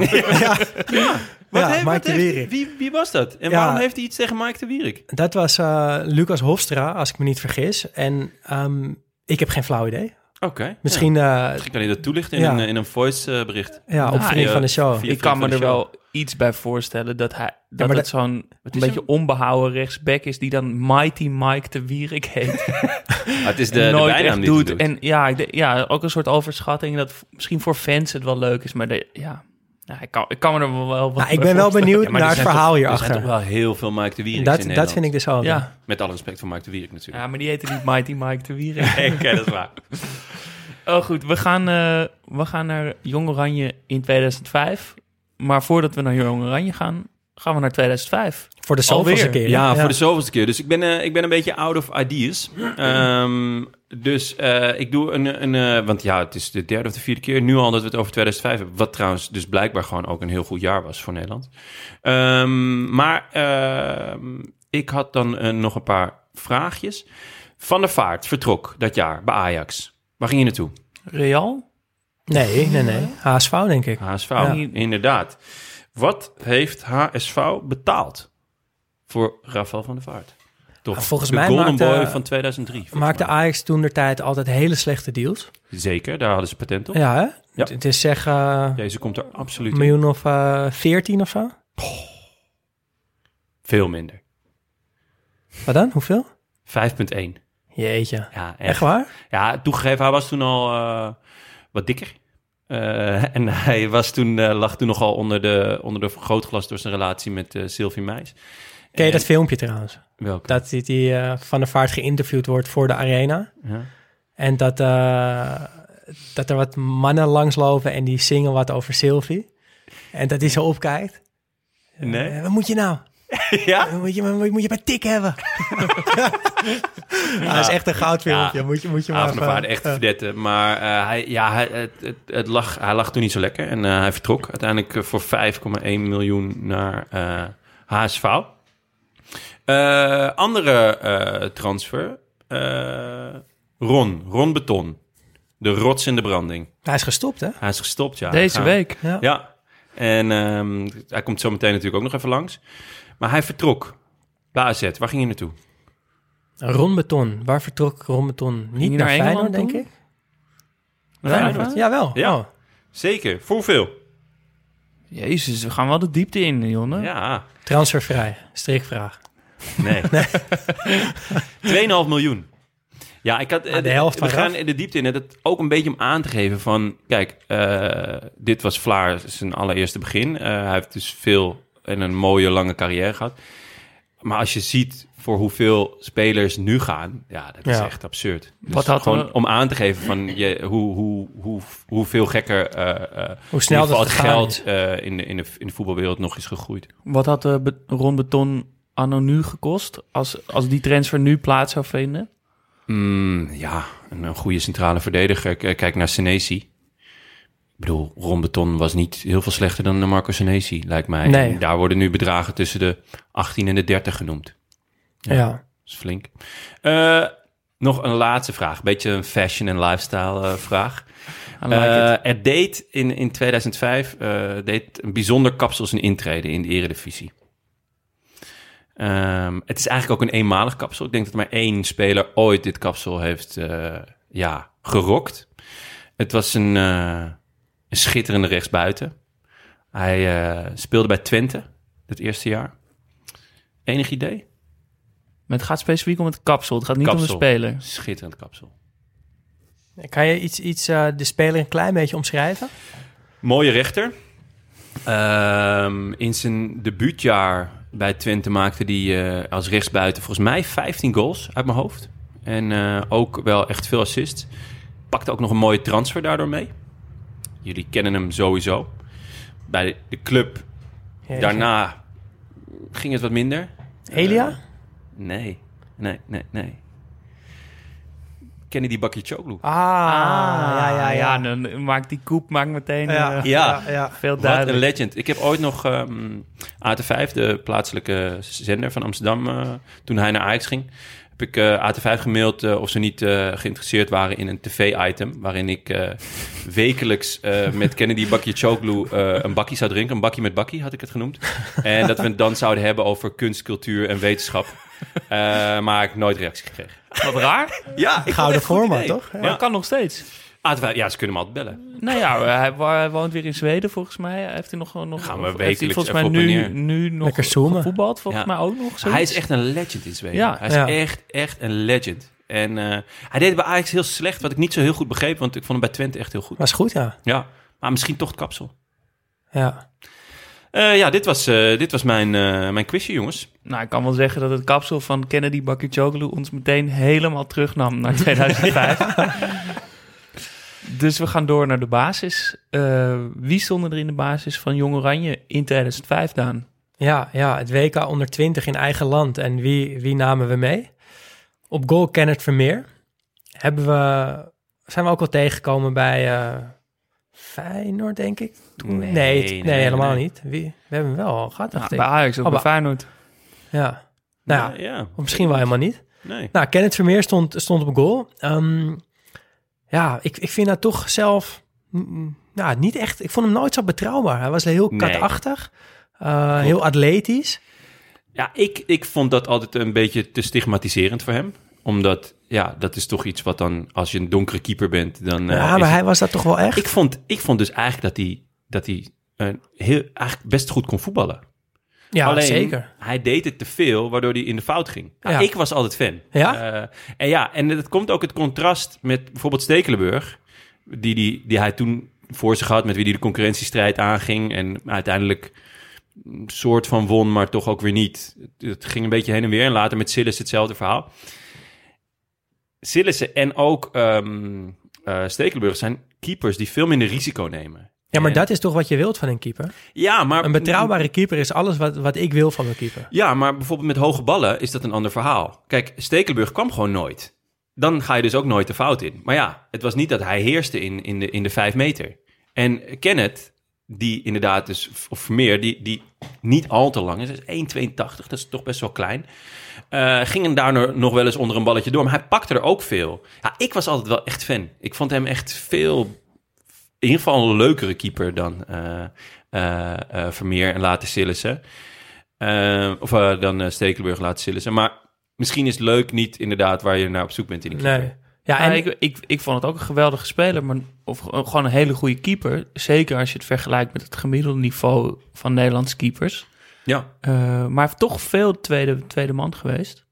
Ja. Wat Ja, heeft- Mike wat de heeft- Wierik. Wie, wie was dat? En Ja. waarom heeft hij iets tegen Mike de Wierik? Dat was eh, Lucas Hofstra, als ik me niet vergis. En ehm, ik heb geen flauw idee. Oké. Misschien eh, Misschien kan hij dat toelichten in Ja. een, eh, in een voice-bericht. ja, op Ah, vriend ja. van de show. Via- Ik kan me vriend er van de wel iets bij voorstellen dat hij dat het maar dat- zo'n een is beetje onbehouden rechtsback is die dan Mighty Mike de Wierik heet. Ah, het is de, de Nooit bijnaam echt die hij doet. doet. En ja, ik denk- ja, ook een soort overschatting dat v- misschien voor fans het wel leuk is, maar de, ja, nou, ik, kan, ik kan me er wel wat Nou, ik bij ben wel voorstellen. benieuwd Ja, maar naar er het zijn verhaal toch- Er zijn hierachter. toch wel heel veel Mike de Wierik Dat, in dat Nederland. vind ik dus wel. Ja, Met alle respect voor Mike de Wierik natuurlijk. ja, maar die heette niet Mighty Mike de Wierik. Nee, oké, dat is waar. Oh goed, we gaan, eh, we gaan naar Jong Oranje in 2005. Maar voordat we naar Jong Oranje gaan, gaan we naar 2005. Voor de zoveelste Alweer. keer. Ja, voor de zoveelste keer. Dus ik ben, eh, ik ben een beetje out of ideas. Ehm, dus eh, ik doe een... een eh, want ja, het is de derde of de vierde keer nu al dat we het over 2005 hebben. Wat trouwens dus blijkbaar gewoon ook een heel goed jaar was voor Nederland. Ehm, maar ehm, ik had dan eh, nog een paar vraagjes. Van der Vaart vertrok dat jaar bij Ajax. Waar ging je naartoe? Real? Nee, nee, nee. HSV, denk ik. HSV, Ja. inderdaad. Wat heeft HSV betaald voor Rafael van der Vaart? Toch, Ah, volgens de mij golden maakte- boy van 2003. volgens Maakte mij. Ajax toen der tijd altijd hele slechte deals. Zeker, daar hadden ze patent op. Ja, hè? Ja. Het- Het is zeg eh, Deze komt er absoluut een in. miljoen of eh, veertien of zo. veel minder. Wat dan? Hoeveel? 5,1. Jeetje. Ja, echt. Echt waar? Ja, toegegeven, hij was toen al eh, wat dikker. Eh, en hij was toen, eh, lag toen nogal onder de, onder de vergrootglas door zijn relatie met eh, Sylvie Meijs. Ken je En- dat filmpje trouwens? Welke? Dat die, die eh, van de vaart geïnterviewd wordt voor de arena. Ja. En dat, eh, dat er wat mannen langslopen en die zingen wat over Sylvie. En dat hij zo opkijkt. Nee? Eh, wat moet je nou? ja? Moet je, moet je, moet je bij tik hebben? ja, dat is echt een goud filmpje. Ja. Moet je, moet je maar Ja, van de even- vaart echt eh, verdetten. Maar eh, hij, ja, hij, het, het, het lag, hij lag toen niet zo lekker. En eh, hij vertrok uiteindelijk eh, voor 5,1 miljoen naar eh, HSV. Eh, andere eh, transfer. eh, Ron, Ron Beton. De rots in de branding. Hij is gestopt, hè? Hij is gestopt, ja. Deze Hij- week. Ja. Ja. En ehm, hij komt zo meteen natuurlijk ook nog even langs. Maar hij vertrok. Bij AZ, waar ging je naartoe? Ron Beton. Waar vertrok Ron Beton? hij Niet naar, naar Feyenoord, Engeland denk toen? ik. Naar Feyenoord? Jawel. Ja. Oh. Zeker, voor hoeveel? Jezus, we gaan wel de diepte in, jongen. Ja, Transfervrij. Strikvraag. Nee. 2,5 miljoen. Ja, ik had, eh, Ah, de helft we van gaan Raf. in de diepte in. hè. Dat ook een beetje om aan te geven van... Kijk, eh, dit was Vlaar zijn allereerste begin. Eh, hij heeft dus veel en een mooie lange carrière gehad. Maar als je ziet voor hoeveel spelers nu gaan... Ja, dat is Ja. echt absurd. Dus Wat hadden gewoon we- om aan te geven van je, hoe, hoe, hoe, hoeveel gekker... eh, eh, Hoe snel in ieder geval dat het gegaan geld is. eh, in, de, in, de, in de voetbalwereld nog is gegroeid. Wat had eh, Be- Ron Beton anno nu gekost? Als, als die transfer nu plaats zou vinden? Mm, ja, een, een goede centrale verdediger. K- eh, Kijk naar Senesi. Ik bedoel, Ron Beton was niet heel veel slechter dan Marco Senesi, lijkt mij. Nee. En daar worden nu bedragen tussen de 18 en de 30 genoemd. Ja. Dat is flink. Eh, nog een laatste vraag. Beetje een fashion en lifestyle eh, vraag. I like Eh, it. er deed in, in 2005 eh, deed een bijzonder kapsel zijn intrede in de eredivisie. Ehm, het is eigenlijk ook een eenmalig kapsel. Ik denk dat maar één speler ooit dit kapsel heeft eh, ja, gerokt. Het was een, eh, een schitterende rechtsbuiten. Hij eh, speelde bij Twente het eerste jaar. Enig idee? Maar het gaat specifiek om het kapsel. Het gaat niet om Kapsel. de speler. Schitterend kapsel. Kan je iets, iets eh, de speler een klein beetje omschrijven? Mooie rechter. Ehm, in zijn debuutjaar bij Twente maakte hij eh, als rechtsbuiten volgens mij 15 goals uit mijn hoofd. En eh, ook wel echt veel assists. Pakte ook nog een mooie transfer daardoor mee. Jullie kennen hem sowieso. Bij de, de club Jeetje. daarna ging het wat minder. Elia? Eh, Nee, nee, nee, nee. Kennen die Bakkie Choglu? ah, ja, ja, ja. ja, dan maakt die koep maakt meteen eh, ah, Ja. ja. veel Wat een duidelijk. legend. Ik heb ooit nog ehm AT5, de plaatselijke zender van Amsterdam, eh, toen hij naar Ajax ging, heb ik eh, AT5 gemaild eh, of ze niet eh, geïnteresseerd waren in een tv-item, waarin ik eh, wekelijks eh, met Kennedy Bakje Choglu eh, een bakkie zou drinken. Een bakkie met bakkie had ik het genoemd. En dat we het dan zouden hebben over kunst, cultuur en wetenschap. Eh, maar ik heb nooit reactie gekregen. Wat raar. Ja, Gouden format, toch? Maar dat kan nog steeds. AT5, ja, ze kunnen me altijd bellen. Nou ja, hij wo- hij woont weer in Zweden volgens mij. Heeft hij nog... nog Gaan we of heeft hij wekelijks volgens mij even nu, op en nu nog Lekker zoomen. gevoetbald, volgens Ja. mij ook nog. Hij zoiets. is echt een legend in Zweden. Ja. hij is Ja. echt, echt een legend. En eh, hij deed het bij Ajax heel slecht, wat ik niet zo heel goed begreep, want ik vond hem bij Twente echt heel goed. Was goed, ja. Ja, maar misschien toch het kapsel. ja. Eh, ja, dit was, eh, dit was mijn, eh, mijn quizje, jongens. Nou, ik kan wel zeggen dat het kapsel van Kennedy Bakircioglu ons meteen helemaal terugnam naar 2005. dus we gaan door naar de basis. Eh, wie stonden er in de basis van Jong Oranje in 2005, Daan? Ja, ja, het WK onder 20 in eigen land. En wie, wie namen we mee? Op goal Kenneth Vermeer. Hebben we, zijn we ook al tegengekomen bij eh, Feyenoord, denk ik? Nee, nee, nee, nee, helemaal nee. niet. Wie, we hebben hem wel al gehad, dacht Nou, ik. bij Ajax of Oh, bij bij- Feyenoord? Ja. Nou ja, ja, ja, of misschien wel helemaal niet. nee. Nou, Kenneth Vermeer stond, stond op goal. Ehm, ja, ik, ik vind dat toch zelf... mm, Ja, niet echt... Ik vond hem nooit zo betrouwbaar. Hij was heel Nee. katachtig. eh, heel atletisch. Ja, ik, ik vond dat altijd een beetje te stigmatiserend voor hem. Omdat, ja, dat is toch iets wat dan, als je een donkere keeper bent, dan... eh, ja, is maar het- hij was dat toch wel echt? ik, vond, ik vond dus eigenlijk dat hij, dat hij een heel, eigenlijk best goed kon voetballen. ja, Alleen, zeker. hij deed het te veel, waardoor hij in de fout ging. Nou, Ja. Ik was altijd fan. Ja? Eh, en ja, en dat komt ook het contrast met bijvoorbeeld Stekelenburg, die, die, die hij toen voor zich had, met wie hij de concurrentiestrijd aanging en uiteindelijk een soort van won, maar toch ook weer niet. Het, het ging een beetje heen en weer en later met Sillis hetzelfde verhaal. Sillissen en ook ehm eh, Stekelenburg zijn keepers die veel minder risico nemen. Ja, maar En- dat is toch wat je wilt van een keeper? ja, maar Een betrouwbare keeper is alles wat, wat ik wil van mijn keeper. Ja, maar bijvoorbeeld met hoge ballen is dat een ander verhaal. Kijk, Stekelenburg kwam gewoon nooit. Dan ga je dus ook nooit de fout in. Maar ja, het was niet dat hij heerste in, in, de, in de vijf meter. En Kenneth, die inderdaad dus, of meer, die, die niet al te lang is, is 1,82, dat is toch best wel klein. Eh ging hem daar nog wel eens onder een balletje door, maar hij pakte er ook veel. Ja, ik was altijd wel echt fan. Ik vond hem echt veel in ieder geval een leukere keeper dan eh, eh, eh, Vermeer en later Sillissen. Eh, of eh, dan eh, Stekelenburg later Sillissen. Maar misschien is leuk niet inderdaad waar je naar op zoek bent in een keeper. Nee. Ja, Ja, en ik, ik, ik vond het ook een geweldige speler, maar of eh, gewoon een hele goede keeper. Zeker als je het vergelijkt met het gemiddelde niveau van Nederlandse keepers. Ja. Eh, maar hij heeft toch veel tweede, tweede man geweest.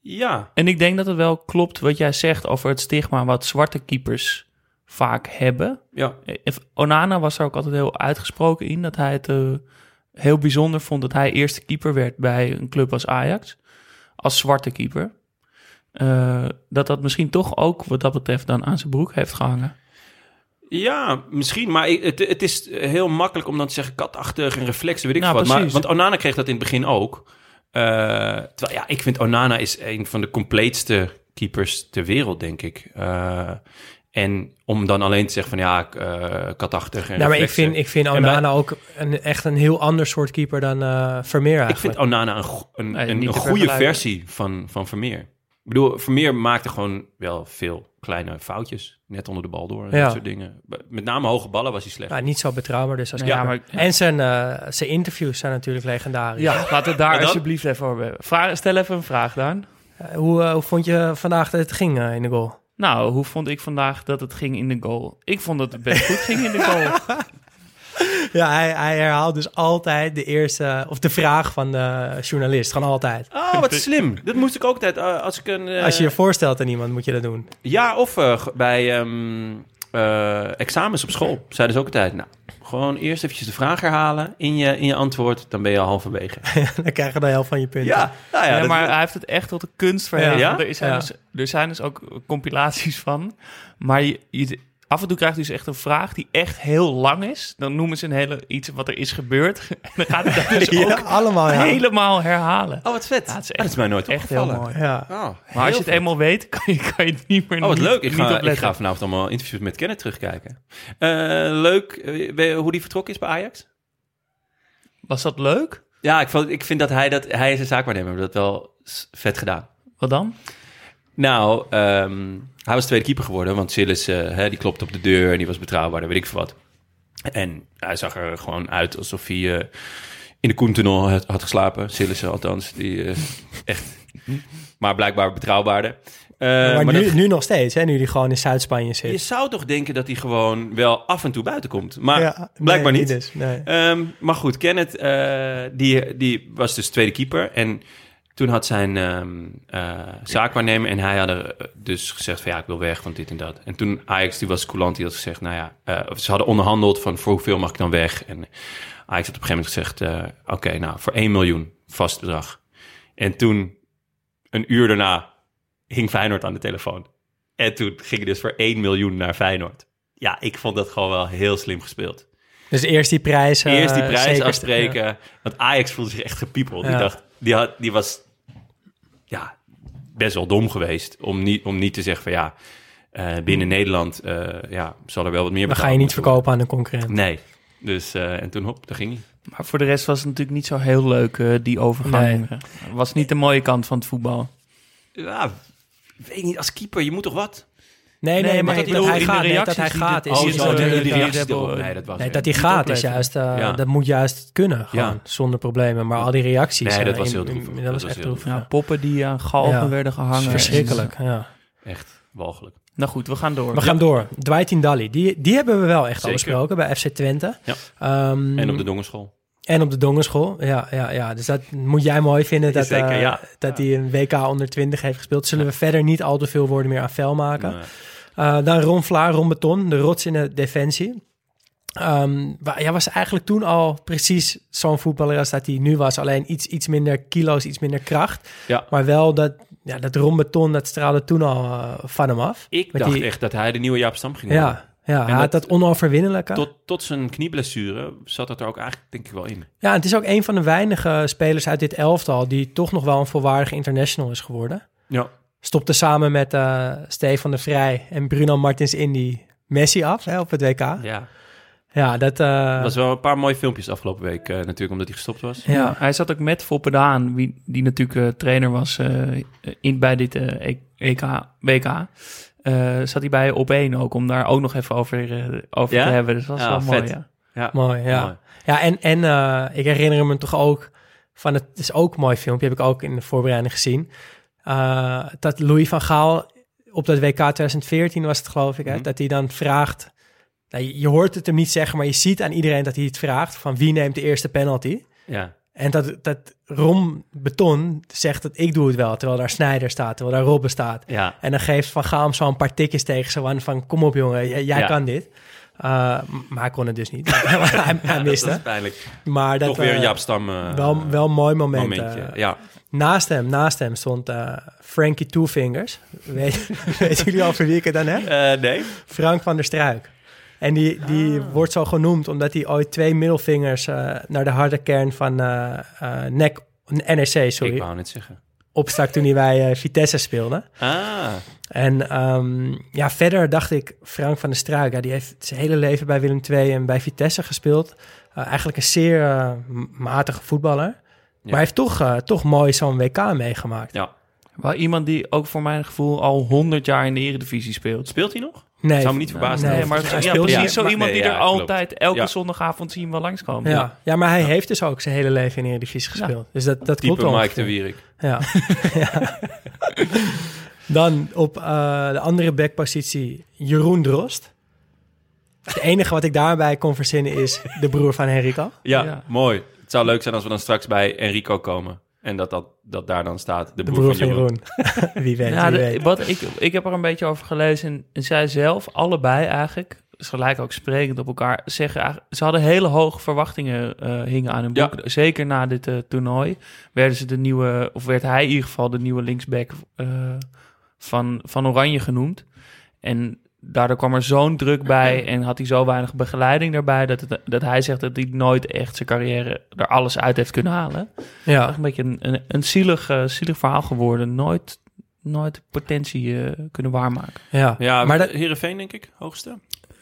Ja. En ik denk dat het wel klopt wat jij zegt over het stigma wat zwarte keepers vaak hebben. Ja. Eh, Onana was er ook altijd heel uitgesproken in dat hij het eh, heel bijzonder vond dat hij eerste keeper werd bij een club als Ajax. Als zwarte keeper. Eh, dat dat misschien toch ook wat dat betreft dan aan zijn broek heeft gehangen. Ja, misschien. Maar ik- het, het is heel makkelijk om dan te zeggen katachtig en reflexen, weet ik Nou, veel wat. Maar, precies. want Onana kreeg dat in het begin ook. Eh, terwijl ja, ik vind Onana is een van de compleetste keepers ter wereld, denk ik. Eh, en om dan alleen te zeggen van ja, eh katachtig en nou, maar ik reflexen. vind, ik vind En bij- Onana ook een, echt een heel ander soort keeper dan eh, Vermeer eigenlijk. Ik vind Onana een, go- een, Nee, een, niet een te goede vergelijken. versie van, van Vermeer. Ik bedoel, Vermeer maakte gewoon wel veel kleine foutjes. Net onder de bal door en Ja. dat soort dingen. Met name hoge ballen was hij slecht. Nou, niet zo betrouwbaar dus als Ja, keeper. maar- En zijn, eh, zijn interviews zijn natuurlijk legendarisch. Ja, laten we daar dat- alsjeblieft even over hebben. Vraag, stel even een vraag, Daan. Eh, hoe, eh, hoe vond je vandaag dat het ging eh, in de goal? Nou, hoe vond ik vandaag dat het ging in de goal? Ik vond dat het best goed ging in de goal. Ja, hij, hij herhaalt dus altijd de eerste, of de vraag van de journalist. Gewoon altijd. Oh, wat slim. Dat moest ik ook altijd. eh, als ik een, eh, Als je je voorstelt aan iemand, moet je dat doen. Ja, of eh, g- bij ehm, eh, examens op school. Zeiden ze ook altijd. Nou, gewoon eerst eventjes de vraag herhalen in je, in je antwoord. Dan ben je al halverwege. Dan krijg je de helft van je punten. Ja, nou ja. Ja, dat- maar eh, hij heeft het echt tot de kunst verheven. Ja? Want Er, zijn Ja. dus, er zijn dus ook compilaties van. Maar je, je- af en toe krijgt hij dus echt een vraag die echt heel lang is. Dan noemen ze een hele, iets wat er is gebeurd. En dan gaat hij dat dus Ja, ook allemaal ja. helemaal herhalen. Oh, wat vet. Ja, het is Ah, echt- dat is mij nooit Echt heel opgevallen. mooi. Ja. Oh, Maar als heel je het vet. eenmaal weet, kan je, kan je het niet meer Oh, wat niet- leuk. Ik niet ga, ik opletten. ga vanavond allemaal interviews met Kenneth terugkijken. Eh, leuk eh, weet je hoe die vertrokken is bij Ajax. Was dat leuk? Ja, ik, vond, ik vind dat hij dat hij is een zaakwaarnemer. Dat wel s- vet gedaan. Wat dan? Nou, ehm, hij was tweede keeper geworden, want Sillis eh, hè, die klopte op de deur en die was betrouwbaar, weet ik veel wat. En hij zag er gewoon uit alsof hij eh, in de Koentunnel had, had geslapen. Sillis althans, die eh, echt, maar blijkbaar betrouwbaarder. Eh, maar maar nu, dat- nu nog steeds, hè? Nu die gewoon in Zuid-Spanje zit. je zou toch denken dat hij gewoon wel af en toe buiten komt, maar Ja, nee, Ah, blijkbaar niet. dus, nee. Ehm, maar goed, Kenneth, eh, die, die was dus tweede keeper. En toen had zijn ehm, eh, zaakwaarnemer en hij hadden eh, dus gezegd van ja, ik wil weg, want dit en dat. En toen Ajax, die was coulant, die had gezegd, nou ja, eh, ze hadden onderhandeld van voor hoeveel mag ik dan weg. En Ajax had op een gegeven moment gezegd, eh, oké, nou, voor 1 miljoen, vast bedrag. En toen, een uur daarna, hing Feyenoord aan de telefoon. En toen ging hij dus voor 1 miljoen naar Feyenoord. Ja, ik vond dat gewoon wel heel slim gespeeld. Dus eerst die prijs. eh, Eerst die prijs zeker- afspreken. Want Ajax voelde zich echt gepiepeld. Die, Ja. dacht, die, had, die was ja, best wel dom geweest. Om niet, om niet te zeggen van ja, eh, binnen Nederland eh, ja, zal er wel wat meer Dan betaald ga je niet moeten worden. verkopen aan een concurrent. Nee. Dus, eh, en toen hop, daar ging hij. Maar voor de rest was het natuurlijk niet zo heel leuk, eh, die overgang. Was niet de mooie kant van het voetbal. Ja, weet niet, als keeper, je moet toch wat? Nee, nee, Nee, maar maar dat, dat hij in de gaat, nee, dat reacties hij die gaat dit- is... Oh, is zo, dat- de- die de- dat- reacties de- erop. Nee, dat was Nee, er. dat hij niet gaat is opleveren. juist, eh, Ja. dat moet juist kunnen gewoon, Ja. zonder problemen. Maar al die reacties... Nee, dat eh, was in- heel in- droevig. Dat, Dat was was echt heel droevig. Ja, ja. poppen die aan galgen Ja. werden Dat is gehangen. Verschrikkelijk, ja. Echt walgelijk. Nou goed, we gaan door. We gaan door. Dwight Tindalli, die, die hebben we wel echt al Zeker. besproken bij FC Twente. Ja. Ehm, En op de dongenschool. en op de Dongenschool. Ja, ja, ja, dus dat moet jij mooi vinden dat, Zeker, eh, ja. dat hij een WK onder 20 heeft gespeeld. Zullen we verder niet al te veel woorden meer aan vuil maken. Nee. Eh, dan Ron Vlaar, Ron Beton, de rots in de defensie. Ehm wa- ja, was eigenlijk toen al precies zo'n voetballer als dat hij nu was. Alleen iets, iets minder kilo's, iets minder kracht. Ja. Maar wel dat, ja, dat Ron Beton, dat straalde toen al eh, van hem af. Ik Met dacht die- echt dat hij de nieuwe Jaap Stam ging worden. Ja, ja hij had dat- dat onoverwinnelijke. Tot, tot zijn knieblessure zat dat er ook eigenlijk denk ik wel in. Ja, het is ook een van de weinige spelers uit dit elftal... die toch nog wel een volwaardige international is geworden. Ja. Stopte samen met eh, Stefan de Vrij en Bruno Martins Indy Messi af hè, op het WK. ja. Ja, dat... eh, Er was wel een paar mooie filmpjes afgelopen week eh, natuurlijk, omdat hij gestopt was. Ja, hij zat ook met Foppe Daan, wie, die natuurlijk eh, trainer was eh, in, bij dit eh, E- EK, WK. Eh, zat hij bij op één ook, om daar ook nog even over, eh, over Ja? te hebben. Dus dat was Ja, wel mooi, vet. ja. Mooi, ja. Mooi. Ja, en, en eh, ik herinner me toch ook van het is ook een mooi filmpje, heb ik ook in de voorbereiding gezien. eh, dat Louis van Gaal op dat WK 2014 was het, geloof ik, hè, Mhm. dat hij dan vraagt. Nou, je, je hoort het hem niet zeggen, maar je ziet aan iedereen dat hij het vraagt: van wie neemt de eerste penalty? Ja. En dat, dat Rom Beton zegt dat ik doe het wel, terwijl daar Snijder staat, terwijl daar Robben staat. Ja. En dan geeft Van Gaal hem zo een paar tikjes tegen ze aan van kom op jongen, j- jij Ja. kan dit. Eh, maar hij kon het dus niet. hij, hij miste. Dat is pijnlijk. Maar dat Toch weer een eh, Jaap Stam eh, wel, wel een mooi moment. momentje. eh. ja. Naast hem, naast hem stond eh, Frankie Two Fingers. Weet, weten jullie al voor wie ik het dan heb? Eh, nee. Frank van der Struik. En die, die Ah. wordt zo genoemd omdat hij ooit twee middelvingers eh, naar de harde kern van eh eh, NEC, NEC Ik sorry, wou net zeggen. opstak toen hij bij eh, Vitesse speelde. Ah. En ehm, ja, verder dacht ik, Frank van der Struik, ja, die heeft zijn hele leven bij Willem II en bij Vitesse gespeeld. Eh, eigenlijk een zeer eh, m- matige voetballer. Maar hij heeft toch, eh, toch mooi zo'n WK meegemaakt. Ja. Wel iemand die ook voor mijn gevoel al 100 jaar in de eredivisie speelt. Speelt hij nog? Nee, Zou me niet verbazen. Nee, Nee, maar hij ja, speelt precies niet. zo Maar- iemand nee, die ja, er klopt. altijd elke Ja. zondagavond zien we langskomen. ja. Ja. maar hij heeft dus ook zijn hele leven in de Eredivisie gespeeld. Dus dat, dat klopt Type wel. Mike de Wierik. Ja. Ja. Dan op eh, de andere backpositie Jeroen Drost. Het enige wat ik daarbij kon verzinnen is de broer van Henrico. Ja, Ja. mooi. Het zou leuk zijn als we dan straks bij Enrico komen. En dat, dat, dat daar dan staat, de broer, De broer van Jeroen. Jeroen. Wie weet, Ja, wie Nou, de- weet. wat ik, ik heb er een beetje over gelezen. En, en zij zelf, allebei eigenlijk, ze lijken ook sprekend op elkaar, zeggen eigenlijk- ze hadden hele hoge verwachtingen eh, hingen aan hun Ja. boek. Zeker na dit eh, toernooi werden ze de nieuwe, of werd hij in ieder geval de nieuwe linksback eh, van, van Oranje genoemd. En daardoor kwam er zo'n druk bij en had hij zo weinig begeleiding daarbij dat, het, dat hij zegt dat hij nooit echt zijn carrière er alles uit heeft kunnen halen Ja. echt een beetje een, een, een zielig, eh, zielig verhaal geworden. Nooit, nooit potentie eh, kunnen waarmaken. Ja, Ja, maar maar dat, Heerenveen denk ik, hoogste.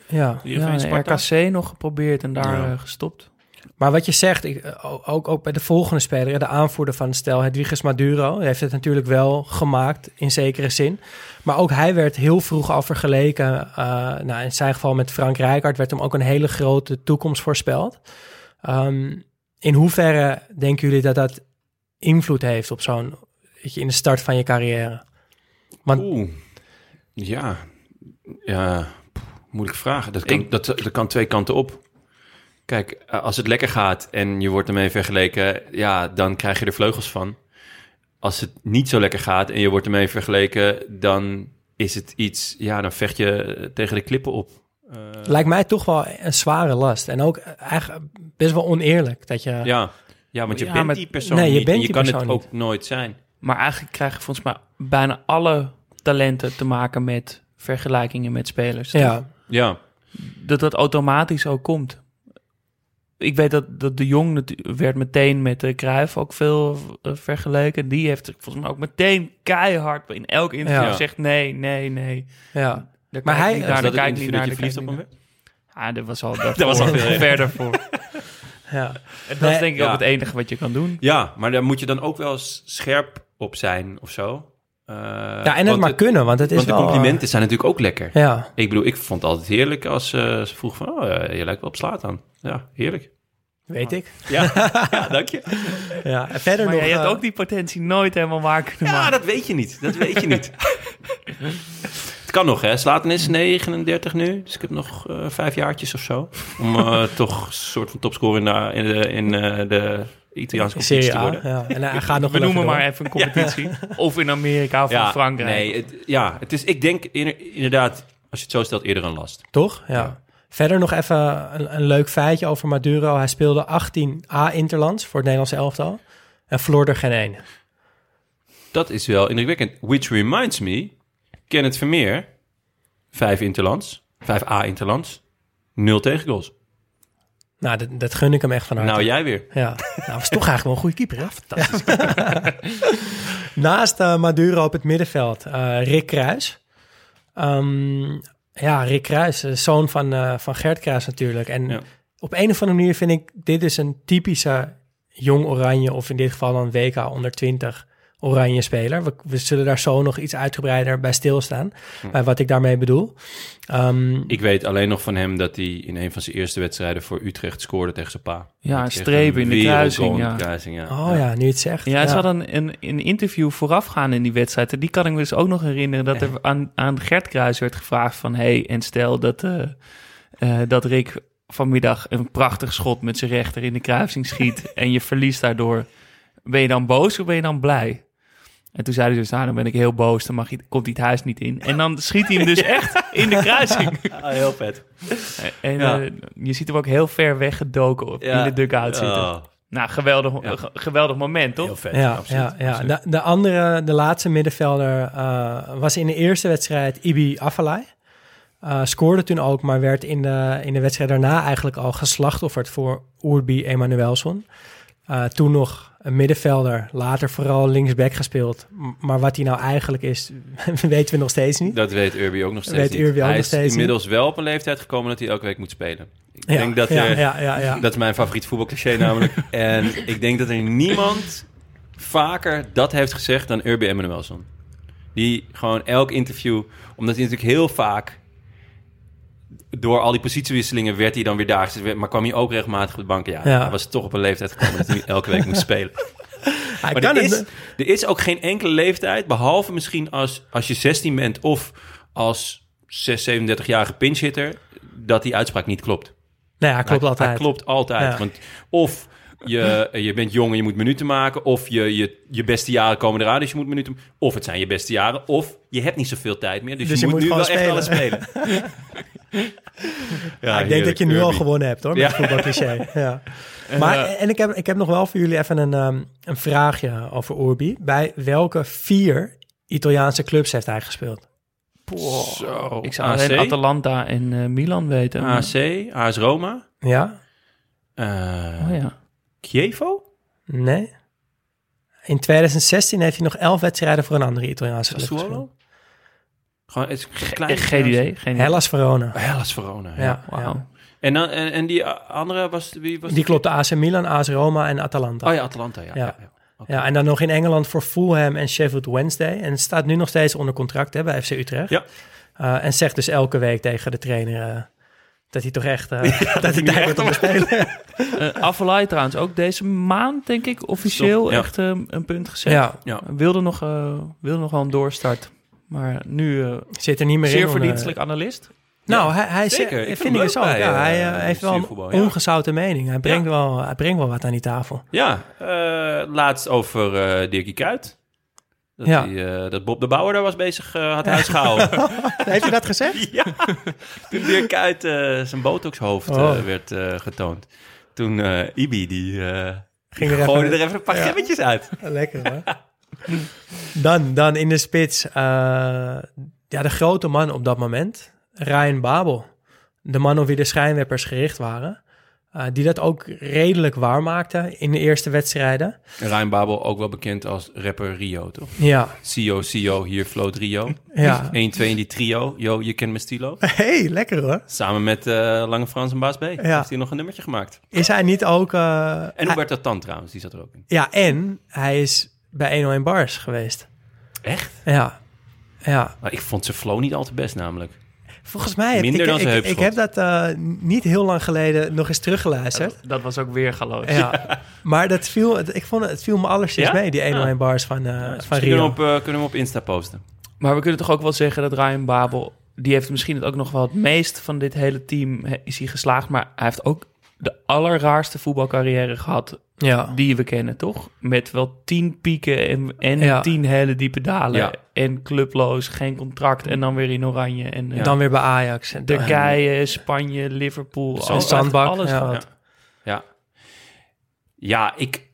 ja. Heerenveen, Ja, Sparta. RKC nog geprobeerd en daar Ja. eh, gestopt. Maar wat je zegt, ik, eh, ook, ook bij de volgende speler, hè, de aanvoerder van het stel, Hedwiges Maduro, heeft het natuurlijk wel gemaakt in zekere zin. Maar ook hij werd heel vroeg al vergeleken. eh, nou, in zijn geval met Frank Rijkaard werd hem ook een hele grote toekomst voorspeld. Ehm, in hoeverre denken jullie dat dat invloed heeft op zo'n, weet je, in de start van je carrière? Want Oeh. Ja. Ja. Pff, Moeilijke vraag. Dat kan, Ik- dat, dat kan twee kanten op. Kijk, eh, als het lekker gaat en je wordt ermee vergeleken, ja, dan krijg je er vleugels van. Als het niet zo lekker gaat en je wordt ermee vergeleken, dan is het iets, ja, dan vecht je eh, tegen de klippen op. Eh, lijkt mij toch wel een zware last. En ook eh, eigenlijk best wel oneerlijk dat je... ja. ja, want je Ja, bent maar- die persoon Nee, je niet en bent je die kan het persoon ook nooit zijn. Maar eigenlijk krijgen volgens mij bijna alle talenten te maken met vergelijkingen met spelers. ja. Ja, Dat dat automatisch ook komt. Ik weet dat, dat de Jong natu- werd meteen met de Cruijff ook veel eh, vergeleken. Die heeft volgens mij ook meteen keihard in elk interview Ja. gezegd nee, nee, nee. ja. Daar Maar kijk hij- ik niet naar, Is is daar dat het kijk ik niet interview naar. daar kijk dat je verliefd ik op niet hem bent? Ah, dat was al, dat was al voor- veel, ja. verder voor. ja. En dat Nee, is denk ik ook ja. het enige wat je kan doen. Ja, maar daar moet je dan ook wel s- scherp op zijn of zo. Eh, Ja, en het want maar kunnen, want het is Want de wel... eh, complimenten zijn natuurlijk ook lekker. Ja, Ik bedoel, ik vond het altijd heerlijk als eh, ze vroeg van... Oh, eh, je lijkt wel op slaat aan. Ja, heerlijk. weet ik. Ja, ja dank je. Ja, en verder Maar nog... jij hebt eh, ook die potentie nooit helemaal waar kunnen Ja, maken. dat weet je niet. Dat weet je niet. het kan nog, hè. Slaatan is 39 nu. Dus ik heb nog eh, vijf jaartjes of zo. Om eh, toch een soort van topscorer in de, in de, in, eh, de Italiaanse competitie Serie te A, worden. ja. En hij gaat nog We wel noemen even maar door. even een competitie. Of in Amerika of in Frankrijk. Nee, het, ja, het is, ik denk inner- inderdaad, als je het zo stelt, eerder een last. Toch? Ja. Verder nog even een, een leuk feitje over Maduro. Hij speelde 18 A-interlands voor het Nederlandse elftal. En verloor er geen één. Dat is wel indrukwekkend. Which reminds me, Kenneth Vermeer, vijf interlands, vijf A-interlands, nul tegengoals. Nou, dat, dat gun ik hem echt van harte. Nou, jij weer. Ja, nou was toch eigenlijk wel een goede keeper, hè? Naast eh, Maduro op het middenveld, eh, Rick Kruis. ja, Rick Kruis, zoon van, eh, van Gert Kruis natuurlijk. En Ja. op een of andere manier vind ik, dit is een typische jong oranje, of in dit geval dan WK onder 20 oranje speler. We, we zullen daar zo nog iets uitgebreider bij stilstaan, bij wat ik daarmee bedoel. Ehm, Ik weet alleen nog van hem dat hij in een van zijn eerste wedstrijden voor Utrecht scoorde tegen zijn pa. Ja, Dat een is echt streep in de wereldgoal kruising, in de ja. kruising, ja. oh ja, nu je het zegt. Ja, ze hadden een, een, een interview voorafgaan in die wedstrijd. En die kan ik me dus ook nog herinneren dat er aan, aan Gert Kruijs werd gevraagd van... hey, en stel dat, eh, eh, dat Rick vanmiddag een prachtig schot met zijn rechter in de kruising schiet... en je verliest daardoor. Ben je dan boos of ben je dan blij? En toen zei hij dus, nou, dan ben ik heel boos, dan mag hij, komt hij het huis niet in. En dan schiet hij hem dus echt in de kruising. Ah, heel vet. En Ja. eh, je ziet hem ook heel ver weggedoken op, Ja. in de dugout zitten. Oh, Nou, geweldig, Ja. ge- geweldig moment, toch? heel vet, Ja, absoluut. ja, ja. absoluut. De, de andere, de laatste middenvelder eh, was in de eerste wedstrijd Ibi Afellay. Eh, scoorde toen ook, maar werd in de, in de wedstrijd daarna eigenlijk al geslachtofferd voor Urbi Emanuelson. Eh, toen nog een middenvelder, later vooral linksback gespeeld. M- Maar wat hij nou eigenlijk is, weten we nog steeds niet. Dat weet Urbi ook nog steeds Weet niet. Urbi ook hij nog is steeds niet. inmiddels wel op een leeftijd gekomen dat hij elke week moet spelen. Ik Ja, denk dat ja, er ja, ja, ja. Dat is mijn favoriet voetbalcliché namelijk. en ik denk dat er niemand vaker dat heeft gezegd dan Urbi Emanuelson. Die gewoon elk interview, omdat hij natuurlijk heel vaak door al die positiewisselingen werd hij dan weer daar gezet, maar kwam hij ook regelmatig op de bank. Ja, Ja. hij was toch op een leeftijd gekomen dat hij niet elke week moest spelen. Hij Maar kan er het, is, ne- er is ook geen enkele leeftijd, behalve misschien als, als je 16 bent of als 6, 37-jarige pinchhitter, dat die uitspraak niet klopt. Nou ja, klopt Hij- altijd. Hij klopt altijd. Ja. Want of je, eh, je bent jong en je moet minuten maken. Of je, je, je beste jaren komen eraan, dus je moet minuten... Of het zijn je beste jaren. Of je hebt niet zoveel tijd meer. Dus, je, moet, nu wel gewoon echt alles spelen. Ja, ja, Ah, ik denk dat je nu al gewonnen hebt hoor, met Ja. voetbalcliché. Ja. Maar, eh, en ik heb, ik heb nog wel voor jullie even een, ehm, een vraagje over Urbi. Bij welke vier Italiaanse clubs heeft hij gespeeld? Zo. Ik zou alleen AC, Atalanta en eh, Milan weten. maar- AC, AS Roma. Ja? eh, Oh ja. Chievo? Nee? In 2016 heeft hij nog elf wedstrijden voor een andere Italiaanse club gespeeld. Sassuolo? Gewoon, het is een klein... Eh, geen idee. Geen idee. Hellas Verona. Hellas Verona. Ja. Ja, Wauw. ja. En, dan, en, en die eh, andere was... Wie was Die klopte AC Milan, AS Roma en Atalanta. Oh ja, Atalanta. Ja. Ja. ja, ja. Oké. Ja, en dan nog in Engeland voor Fulham en Sheffield Wednesday. En staat nu nog steeds onder contract hè, bij FC Utrecht. Ja. Eh, en zegt dus elke week tegen de trainer eh, dat hij toch echt... eh, dat hij daar wordt om te spelen. Eh, Avalai trouwens ook deze maand, denk ik, officieel Stop, ja. echt eh, een punt gezet. ja, Ja. Wilde, nog, eh, wilde nog wel een doorstart. Maar nu eh, zit er niet meer in. zeer om, eh, verdienstelijk analist. nou, hij, hij Zeker, zegt- ik vond vind ik hem dus leuk ook. bij, ja, eh, hij eh, heeft wel stuurvoetbal, een ja. ongezouten mening. Hij brengt, wel, hij brengt wel wat aan die tafel. Ja, eh, laatst over eh Dirkie Kuyt. Dat, Ja. die, eh, dat Bob de Bouwer daar was bezig, eh, had huisgehouden. heeft hij dat gezegd? ja, toen Dirk Kuyt eh, zijn botoxhoofd eh, Oh. werd eh, getoond. Toen eh, Ibi, die eh Ging er gooide even- er even een paar Ja. gemmetjes uit. Lekker hoor. Dan, dan in de spits. eh, ja, de grote man op dat moment. Ryan Babel. De man op wie de schijnwerpers gericht waren. eh, die dat ook redelijk waar maakte in de eerste wedstrijden. Rijn Babel, ook wel bekend als rapper Rio, toch? Ja, CEO, CEO, hier float Rio. ja. 1-2 in die trio. Yo, je kent mijn stilo. hey, lekker hoor. Samen met eh, Lange Frans en Baas B. Heeft hij nog een nummertje gemaakt. Is hij niet ook... eh, En hij- Hubert Tan trouwens, die zat er ook in. ja, en hij is bij 101 Bars geweest. Echt? Ja, ja. Maar ik vond zijn flow niet al te best namelijk. Volgens mij heb Minder ik, dan ik, zijn ik, heupschot. heb dat eh, niet heel lang geleden nog eens teruggeluisterd. Dat was ook weer geloofd. Ja, maar dat viel, het- ik vond, het- het viel me alleszins Ja? Ah. mee, die 101 Ja. bars van, eh, Dus van misschien Rio. kunnen we, hem op, eh, kunnen we hem op Insta posten. Maar we kunnen toch ook wel zeggen dat Ryan Babel... die heeft misschien het ook nog wel het meest van dit hele team eh, is hij geslaagd. Maar hij heeft ook de allerraarste voetbalcarrière gehad Ja. die we kennen, toch? Met wel tien pieken en, en Ja. tien hele diepe dalen. Ja. En clubloos, geen contract en dan weer in oranje. En eh, Dan weer bij Ajax. En dan- Turkije, Spanje, Liverpool. Zo'n alles- zandbak, Alles ja. gehad. Ja. Ja, ik...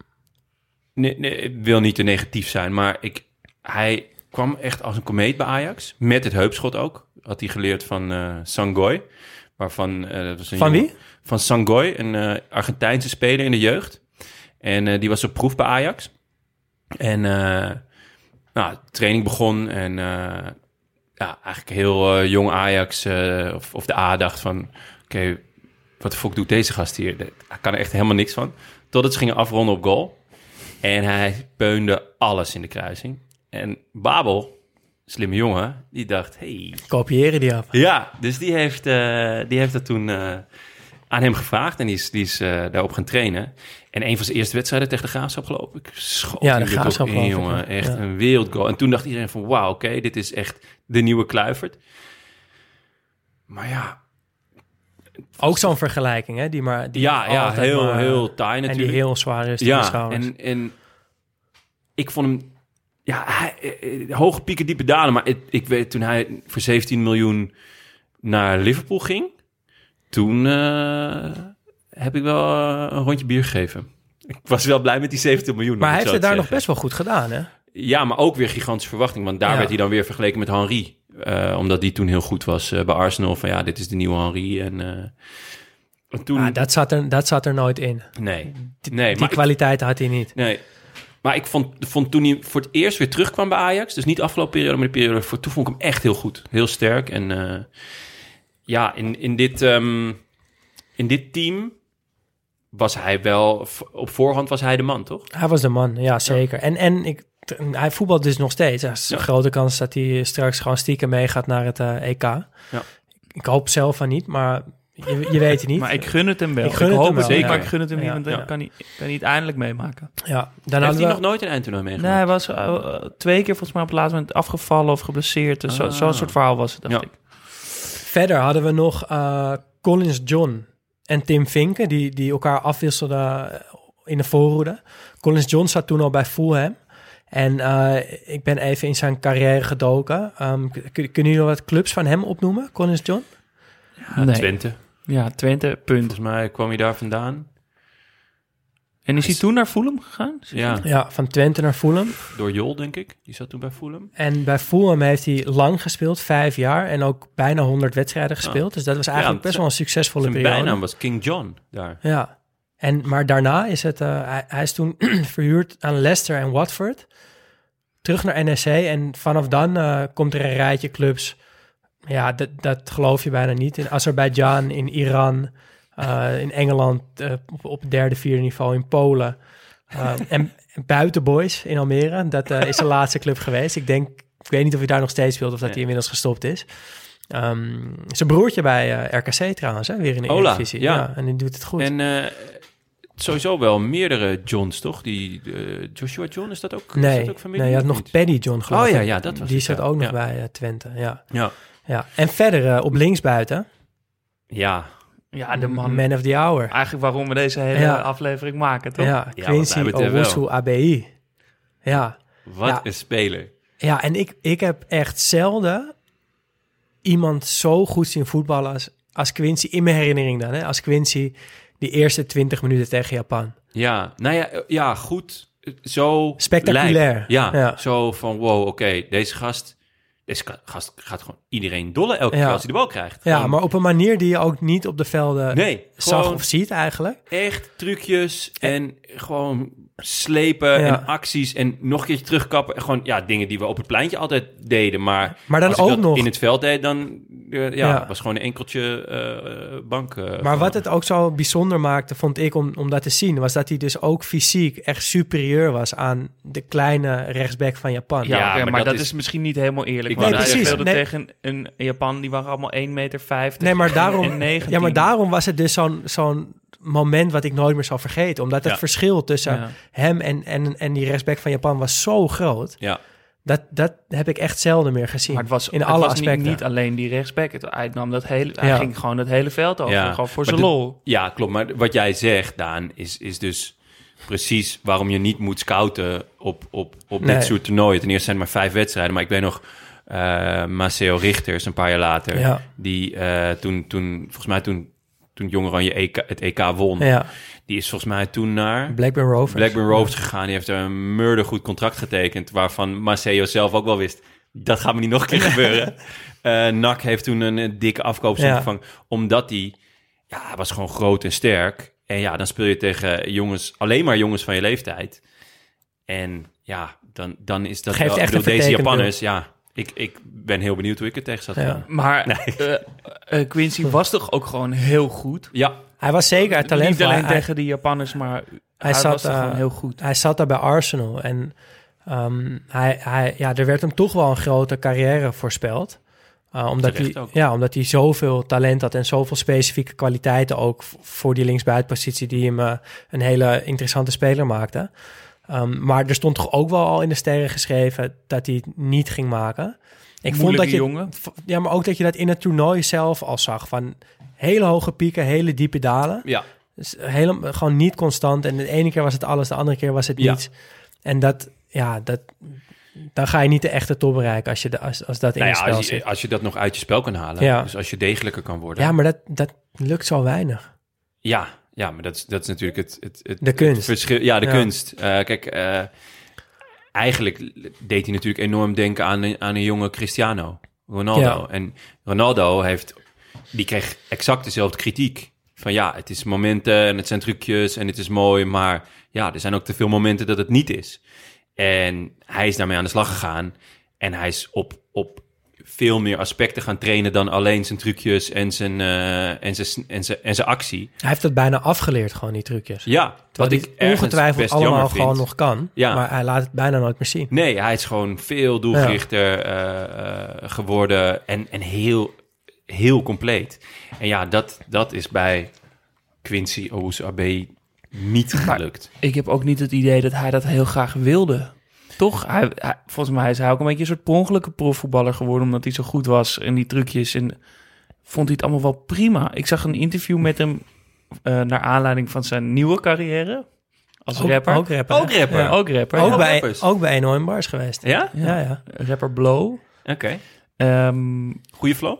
Nee, nee, ik wil niet te negatief zijn, maar ik, hij kwam echt als een komeet bij Ajax. Met het heupschot ook. Had hij geleerd van eh Sangoy. Waarvan, eh, dat was een Van jongen- wie? Van Sangoy, een eh, Argentijnse speler in de jeugd. En eh, die was op proef bij Ajax. En eh, nou, training begon en eh, ja, eigenlijk heel eh, jong Ajax eh, of, of de A dacht van... Oké, wat de fuck doet deze gast hier? De- Hij kan er echt helemaal niks van. Totdat ze gingen afronden op goal. En hij peunde alles in de kruising. En Babel, slimme jongen, die dacht... Hey, Kopiëren die af. ja, dus die heeft, eh, die heeft dat toen eh, aan hem gevraagd. En die is, die is eh, daarop gaan trainen. En een van zijn eerste wedstrijden tegen de Graafschap, geloof ik. Schoot Ja, hij de er toch Graafschap, in, geloof ik, jongen. ja. Echt Ja. een wereldgoal. En toen dacht iedereen van, wauw, oké, dit is echt de nieuwe Kluivert. Maar ja, Ook zo'n vergelijking, hè? Die maar, die ja, ja altijd heel, maar- heel taai natuurlijk. En die heel zwaar is te Ja, beschouwen. en, en ik vond hem... Ja, hij, eh, eh, hoge pieken, diepe dalen. Maar het- ik weet, toen hij voor 17 miljoen naar Liverpool ging... toen eh, heb ik wel eh, een rondje bier gegeven. Ik was wel blij met die 17 miljoen. maar om hij het heeft zo het daar te nog best zeggen. wel goed gedaan, hè? Ja, maar ook weer gigantische verwachting. Want daar Ja. werd hij dan weer vergeleken met Henry. Eh, omdat die toen heel goed was eh, bij Arsenal. Van ja, dit is de nieuwe Henry. En, eh, en toen... Maar Ah, dat, zat er, dat zat er nooit in. nee, nee Die maar ik- kwaliteit had hij niet. Nee. Maar ik vond, vond toen hij voor het eerst weer terugkwam bij Ajax... dus niet de afgelopen periode, maar de periode voor toen vond ik hem echt heel goed. Heel sterk. En eh, ja, in, in, dit, ehm, in dit team was hij wel... v- Op voorhand was hij de man, toch? Nou, Hij was de man, ja, zeker. En, en ik, t- hij voetbalt dus nog steeds. Er is een Ja. grote kans dat hij straks gewoon stiekem meegaat naar het eh, EK. Ik hoop zelf van niet, maar je, je weet het niet. Maar ik gun het hem wel. Ik Ik, gun het hoop hem het wel, niet, ja. maar ik gun het hem Ja. niet, want dan Ja. kan, hij, kan hij het eindelijk meemaken. ja, dan Heeft hadden hij nog we, nooit een eindtoernooi Nee, meegemaakt? hij was eh, eh, twee keer volgens mij op het laatste moment afgevallen of geblesseerd. Dus zo- Ah. Zo'n soort verhaal was het, dacht Ja. ik. Verder hadden we nog eh, Collins John en Tim Vinken, die, die elkaar afwisselden eh, in de voorhoede. Collins John zat toen al bij Fulham. En eh, ik ben even in zijn carrière gedoken. Ehm, k- kunnen jullie nog wat clubs van hem opnoemen, Collins John? nee. Twente. Ja, Twente, punt. Volgens mij kwam hij daar vandaan. En is hij toen naar Fulham gegaan? Ja, Ja, van Twente naar Fulham. door Jol, denk ik. Die zat toen bij Fulham. En bij Fulham heeft hij lang gespeeld, vijf jaar. En ook bijna 100 wedstrijden gespeeld. Dus dat was eigenlijk Ah. Ja, best wel een succesvolle Zijn periode. bijnaam was King John daar. Ja. En, maar daarna is het... eh, hij, hij is toen verhuurd aan Leicester en Watford. Terug naar NEC. En vanaf dan eh, komt er een rijtje clubs. Ja, dat, dat geloof je bijna niet. In Azerbeidzjan, in Iran, eh, in Engeland... eh, op, op het derde, vierde niveau, in Polen. Eh, en, en buiten Boys in Almere. Dat eh, is zijn laatste club geweest. Ik denk... Ik weet niet of hij daar nog steeds speelt of dat hij Nee. inmiddels gestopt is. Ehm, zijn broertje bij eh, RKC trouwens, hè? weer in de Ola, Eredivisie. ja. en die doet het goed. En eh, sowieso wel meerdere Johns, toch? Die, eh, Joshua John, is dat ook, is Nee, dat ook familie? nee, je had of nog niet? Paddy John geloof Oh ja, ik. ja, dat was Die het, zat ja. ook nog Ja. bij eh, Twente, ja. Ja. ja. En verder eh, op linksbuiten, Ja, Ja, Ah, de man. man of the hour. Eigenlijk waarom we deze hele Ja. aflevering maken, toch? Ja, Ah, Ja, Quincy wat mij betreft Owusu ABI. Ja. wat Ja. een speler. ja, en ik, ik heb echt zelden iemand zo goed zien voetballen als, als Quincy, in mijn herinnering dan, hè, als Quincy die eerste 20 minuten tegen Japan. Ja, nou ja, eh, ja goed. Eh, Zo Spectaculair. lijp. Ja, Ja. zo van wow, oké, deze gast... Deze ka- gast gaat gewoon iedereen dollen elke Ja. keer als hij de bal krijgt. Ja, Gewoon- maar op een manier die je ook niet op de velden Nee, zag gewoon- of ziet eigenlijk. echt trucjes en gewoon slepen Ja. en acties en nog een keertje terugkappen. En Gewoon ja, dingen die we op het pleintje altijd deden. Maar, Maar dan als ik ook dat nog- in het veld deed, dan eh, ja, Ja. was gewoon een enkeltje eh, eh, bank. eh, Maar gewoon. wat het ook zo bijzonder maakte, vond ik, om, om dat te zien, was dat hij dus ook fysiek echt superieur was aan de kleine rechtsback van Japan. Ja, Ja, oké, maar, maar dat, is... dat is- misschien niet helemaal eerlijk. Ik Want wou hij net speelde zeggen. Nee. tegen een Japan, die waren allemaal 1,50 meter. Nee, maar en daarom, 19. ja, maar daarom was het dus zo'n zo'n moment wat ik nooit meer zal vergeten. Omdat het Ja. verschil tussen Ja. hem en, en, en die rechtsback van Japan was zo groot. Ja, Dat, dat heb ik echt zelden meer gezien. Maar het was, in het alle was niet, aspecten. niet alleen die rechtsback. Het, hij, nam dat hele, hij Ja. ging gewoon het hele veld over. ja. Oh, Gewoon voor Maar zijn de- lol. Ja, klopt. Maar wat jij zegt, Daan, is, is dus precies waarom je niet moet scouten op, op, op Nee. dit soort toernooien. Ten eerste zijn het maar vijf wedstrijden, maar ik weet nog... eh Maceo Richters, een paar jaar later, Ja. die eh, toen, toen, volgens mij toen, toen Jong Oranje EK, het EK won, Ja, Die is volgens mij toen naar Blackburn Rovers. Blackburn Rovers gegaan. Die heeft een murdergoed contract getekend. Waarvan Maceo zelf ook wel wist. Dat gaat me niet nog een keer gebeuren. Eh NAC heeft toen een, eh, dikke afkoopsom Ja. gevangen. Omdat hij... Ja, hij was gewoon groot en sterk. En ja, dan speel je tegen jongens... Alleen maar jongens van je leeftijd. En ja, dan, dan is dat... Geeft wel- echt ik bedoel, een deze vertekend Japanners, ja... Ik, ik ben heel benieuwd hoe ik het tegen zat Ja. gaan. Maar eh, eh, Quincy was toch ook gewoon heel goed? Ja, Hij was zeker talent. Niet alleen tegen die Japanners, maar hij, zat, was toch eh, gewoon heel goed. Hij zat daar bij Arsenal en ehm, hij, hij, ja, er werd hem toch wel een grote carrière voorspeld. Uh, omdat, Terecht hij, ook. ja, omdat hij zoveel talent had en zoveel specifieke kwaliteiten ook v- voor die linksbuitenpositie die hem eh, een hele interessante speler maakte. Ehm, maar er stond toch ook wel al in de sterren geschreven dat hij het niet ging maken. Ik vond dat Moeilijke je, jongen. v- Ja, maar ook dat je dat in het toernooi zelf al zag. Van hele hoge pieken, hele diepe dalen. ja. Dus helemaal, gewoon niet constant. En de ene keer was het alles, de andere keer was het Ja. niets. En dat, ja, dat, dan ga je niet de echte top bereiken als, je de, als, als dat in Nou je ja, spel als, zit. je, als je dat nog uit je spel kan halen. Ja. Dus als je degelijker kan worden. Ja, maar dat, dat lukt zo weinig. Ja, ja maar dat is, dat is natuurlijk het, het, het, De kunst. het verschil. Ja, de Ja. kunst. Eh, kijk, eh, eigenlijk deed hij natuurlijk enorm denken aan, een- aan een jonge Cristiano Ronaldo. Ja. En Ronaldo heeft, die kreeg exact dezelfde kritiek. Van ja, het is momenten en het zijn trucjes en het is mooi, maar ja, er zijn ook te veel momenten dat het niet is. En hij is daarmee aan de slag gegaan en hij is op, op veel meer aspecten gaan trainen dan alleen zijn trucjes en zijn, eh, en zijn, sn- en zijn, en zijn actie. Hij heeft dat bijna afgeleerd, gewoon die trucjes. Ja, wat Terwijl ik hij het ergens ongetwijfeld best jammer allemaal vind. gewoon nog kan. Ja. Maar hij laat het bijna nooit meer zien. Nee, hij is gewoon veel doelgerichter eh, eh, geworden en, en heel, heel compleet. En ja, dat, dat is bij Quincy Owusu-Abe niet gelukt. Ik heb ook niet het idee dat hij dat heel graag wilde. Toch? Hij, hij- volgens mij is hij ook een beetje een soort per ongelukke profvoetballer geworden... omdat hij zo goed was in die trucjes. En vond hij het allemaal wel prima. Ik zag een interview met hem eh, naar aanleiding van zijn nieuwe carrière als Ook- rapper. ook rapper, hè? Ook rapper. Ja. Ook rapper. Ook ja. bij, rappers. ook bij Enorm Bars geweest. Ja? Ja, ja. Rapper Blow. Oké. Ehm, Goeie flow?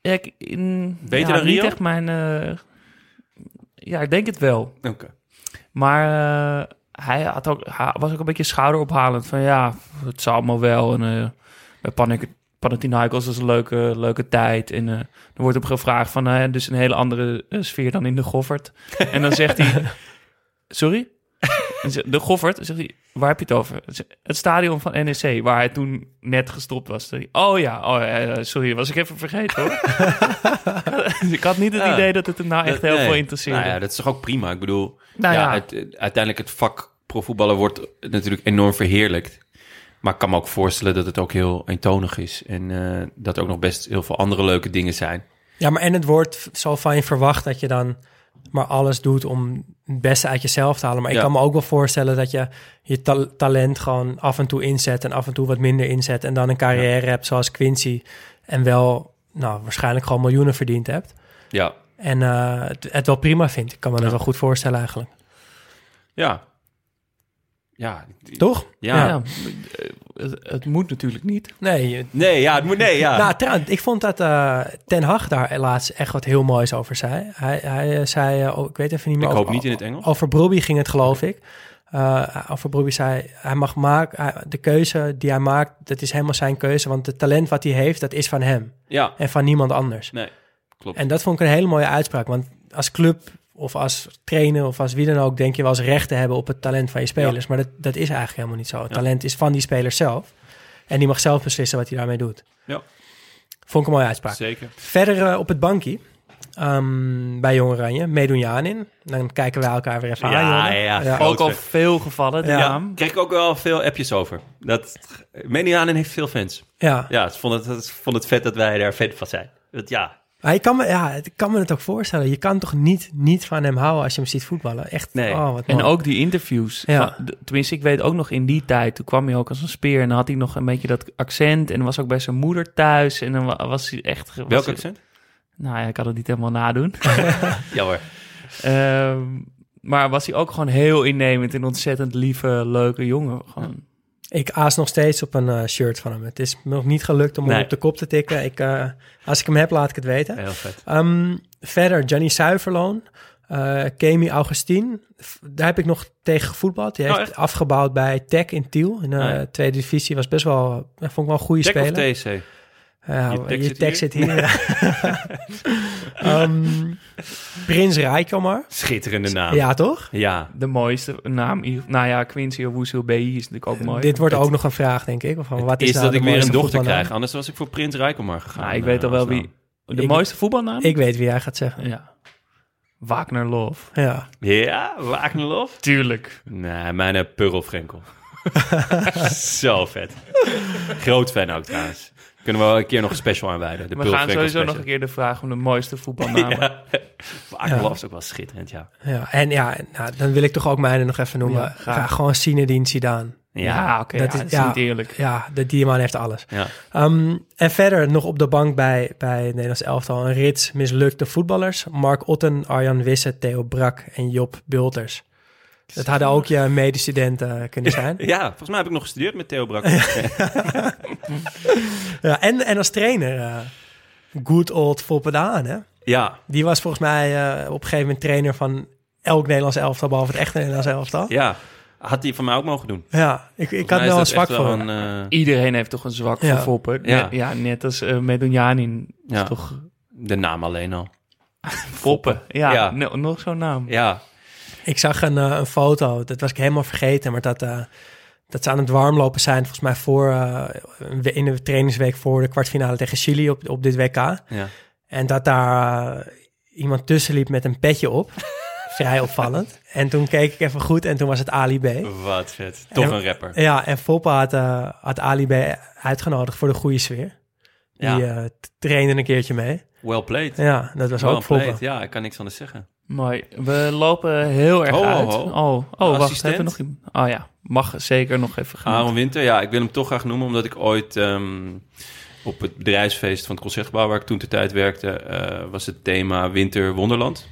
ja, ik, in, Beter ja, dan niet Rio? echt mijn... eh, ja, ik denk het wel. Oké. Maar eh, hij, had ook, hij was ook een beetje schouderophalend. Van ja, het zal allemaal wel. En eh, bij Panik- Panathinaikos was dus een leuke, leuke tijd. En eh, er wordt hem gevraagd van... eh, dus een hele andere eh, sfeer dan in de Goffert. En dan zegt hij... Sorry? En ze- De Goffert, zegt hij, waar heb je het over? Ze- Het stadion van NEC, waar hij toen net gestopt was. Zei hij, Oh ja, oh, ja, eh, sorry, was ik even vergeten hoor. Dus ik had niet het Ja. idee dat het hem nou echt heel Nee. veel interesseerde. Nou ja, dat is toch ook prima? Ik bedoel, Nou ja, ja. het- het- uiteindelijk het vak profvoetballer wordt natuurlijk enorm verheerlijkt. Maar ik kan me ook voorstellen dat het ook heel eentonig is. En eh, dat er ook nog best heel veel andere leuke dingen zijn. Ja, maar en het wordt v- zo van je verwacht dat je dan maar alles doet om het beste uit jezelf te halen. Maar Ja. ik kan me ook wel voorstellen dat je je tal- talent gewoon af en toe inzet en af en toe wat minder inzet. En dan een carrière hebt zoals Quincy. En wel, nou, waarschijnlijk gewoon miljoenen verdiend hebt. Ja, En eh, het, het wel prima vindt. Ik kan me dat wel goed voorstellen eigenlijk. ja. Ja. Toch? Ja. Ja, Eh, het, het moet natuurlijk niet. Nee, je- Nee, ja, het moet, nee, ja. Nou, trouwens, ik vond dat eh, Ten Hag daar laatst echt wat heel moois over zei. Hij, hij eh, zei, eh, oh, ik weet even niet meer Ik over- hoop niet in het Engels. Over Broby ging het, geloof ik. Eh, over Broby zei, hij mag maken, hij- de keuze die hij maakt, dat is helemaal zijn keuze. Want het talent wat hij heeft, dat is van hem ja, en van niemand anders. nee, klopt. En dat vond ik een hele mooie uitspraak. Want als club of als trainer of als wie dan ook, denk je wel eens recht te hebben op het talent van je spelers. Maar dat, dat is eigenlijk helemaal niet zo. Het Ja. talent is van die speler zelf. En die mag zelf beslissen wat hij daarmee doet. Ja. Vond ik een mooie uitspraak. Zeker. Verder eh, op het bankje ehm, bij Jong Oranje, meedoen Jaan in. Dan kijken wij elkaar weer even aan. Ja, Jonne. ja, Ja. groot Ook al vet. veel gevallen, die Ja. naam. Kreeg ik ook wel veel appjes over. Dat, Menianen heeft veel fans. Ja. Ja, ze vonden het, ze vonden het vet dat wij daar fan van zijn. Dat, ja, Maar ik kan, me, ja, ik kan me het ook voorstellen. Je kan toch niet, niet van hem houden als je hem ziet voetballen? Echt, Nee. oh, wat En mooi. ook die interviews. Ja. Van- de- Tenminste, ik weet ook nog in die tijd. Toen kwam hij ook als een speer. En dan had hij nog een beetje dat accent. En was ook bij zijn moeder thuis. En dan wa- was hij echt. was welk hij- accent? Nou ja, ik kan het niet helemaal nadoen. Ja hoor. Ehm, maar was hij ook gewoon heel innemend. En ontzettend lieve, leuke jongen. Gewoon. Ik aas nog steeds op een eh, shirt van hem. Het is me nog niet gelukt om hem Nee. op de kop te tikken. Ik, eh, als ik hem heb, laat ik het weten. Heel vet. Ehm, verder, Johnny Suiverloon, eh Kemi Augustine. F- Daar heb ik nog tegen gevoetbald. Die Oh, heeft echt? afgebouwd bij Tech in Tiel. In de Ah, ja. tweede divisie was best wel, eh, vond ik wel een goede Jack of speler. TC? Ja, Je tekst je zit tekst hier? zit hier. ja. Ehm, Prins Rijkomar. Schitterende naam. Ja. Ja, toch? De mooiste naam. in ieder geval- Nou ja, Quincy Owusu BI is natuurlijk ook mooi. Dit wordt Het- ook nog een vraag, denk ik. Of van, wat is, is nou dat de ik weer een mooiste dochter voetballer? krijg. Anders was ik voor Prins Rijkelmar gegaan. Nou, ik weet al eh, wel als wie. De Ik- mooiste voetbalnaam? Ik weet wie jij gaat zeggen. Ja. Wagner Love. Ja. naam. Ja, Wagnerlof? Tuurlijk. Nee, mijn eh, Purl Frenkel. Zo vet. Groot fan ook trouwens. Kunnen we wel een keer nog een special aanwijden. De We Purl gaan Frenkel sowieso special. nog een keer de vraag om de mooiste voetbalnamen. Ja. Wagnerlof is ook wel schitterend, ja. ja. En ja, nou, dan wil ik toch ook mijne nog even noemen. Ja, graag. Ja, gewoon Zinedine Zidane. Ja. Ja, oké. ja, Dat is- dat is ja. niet eerlijk. Ja, de Diaman heeft alles. Ja. Ehm, en verder nog op de bank bij, bij het Nederlands elftal een rits mislukte voetballers. Mark Otten, Arjan Wisse, Theo Brak en Job Bulters. Dat hadden ook je medestudenten eh, kunnen zijn. Ja, volgens mij heb ik nog gestudeerd met Theo Brak. Ja, en, en als trainer, eh good old Volpedaan. Hè? ja, Die was volgens mij eh, op een gegeven moment trainer van elk Nederlands elftal, behalve het echte Nederlands elftal. Ja, ja. Had hij van mij ook mogen doen. ik, ik Volgens mij had er wel een is dat zwak echt voor. wel een, eh, Iedereen heeft toch een zwak Ja. voor foppen. Ja. Net, ja, net als eh Medunjanin. Ja. Is toch de naam alleen al. foppen. Ja, Ja. no- nog zo'n naam. Ja, Ik zag een, eh, een foto, dat was ik helemaal vergeten, maar dat, eh, dat ze aan het warmlopen zijn, volgens mij voor, eh, een we- in de trainingsweek voor de kwartfinale tegen Chili op, op dit WK. ja. En dat daar eh, iemand tussen liep met een petje op, vrij opvallend. En toen keek ik even goed en toen was het Ali B. Wat vet. Oh, Toch En- een rapper. Ja, en Foppa had, eh, had Ali B uitgenodigd voor de goede sfeer. Die Ja. eh, t- trainde een keertje mee. Well played. Ja, dat was Well ook Foppa. played. Ja, ik kan niks anders zeggen. Mooi. We lopen heel erg Ho, ho, uit. ho. Oh, oh wacht. Assistent. Ah, Hebben we nog iemand? Oh ja, mag zeker nog even gaan. Aaron Winter, ja, ik wil hem toch graag noemen, omdat ik ooit ehm, Op het bedrijfsfeest van het Concertgebouw waar ik toen te tijd werkte, eh, was het thema Winter Wonderland.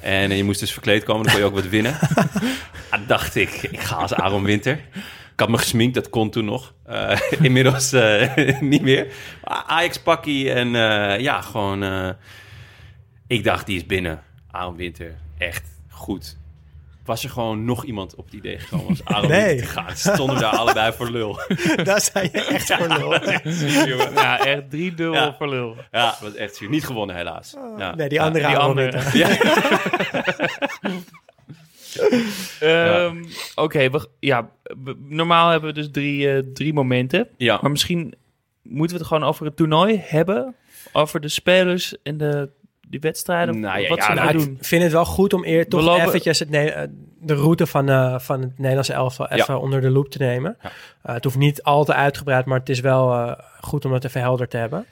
En je moest dus verkleed komen, dan kon je ook wat winnen. Ah, dacht ik, ik ga als Aaron Winter. Ik had me gesminkt, dat kon toen nog. Eh, inmiddels eh, niet meer. Maar Ajax-pakkie en eh, ja, gewoon... eh, ik dacht, die is binnen. Aaron Winter, echt goed. Was er gewoon nog iemand op het idee gekomen als Aaron Nee. Winter te gaan? Stonden we daar allebei voor lul. Daar zijn je echt voor lul. Jongen. Ja, echt 3-0 Ja. voor lul. Ja, dat was echt zuur. Niet gewonnen, helaas. Ja. Oh, Nee, die andere die oude andere. witte. Ja. Ehm, Oké, we- ja, we- normaal hebben we dus drie, eh, drie momenten. Ja. Maar misschien moeten we het gewoon over het toernooi hebben. Over de spelers en de, die wedstrijden. Nou ja, wat ja, zullen we Nou, doen? ik vind het wel goed om eer toch We lopen- eventjes het, ne- eh, de route van, eh, van het Nederlandse elftal Ja. even onder de loep te nemen. Ja. Eh, het hoeft niet al te uitgebreid, maar het is wel eh, goed om dat even helder te hebben.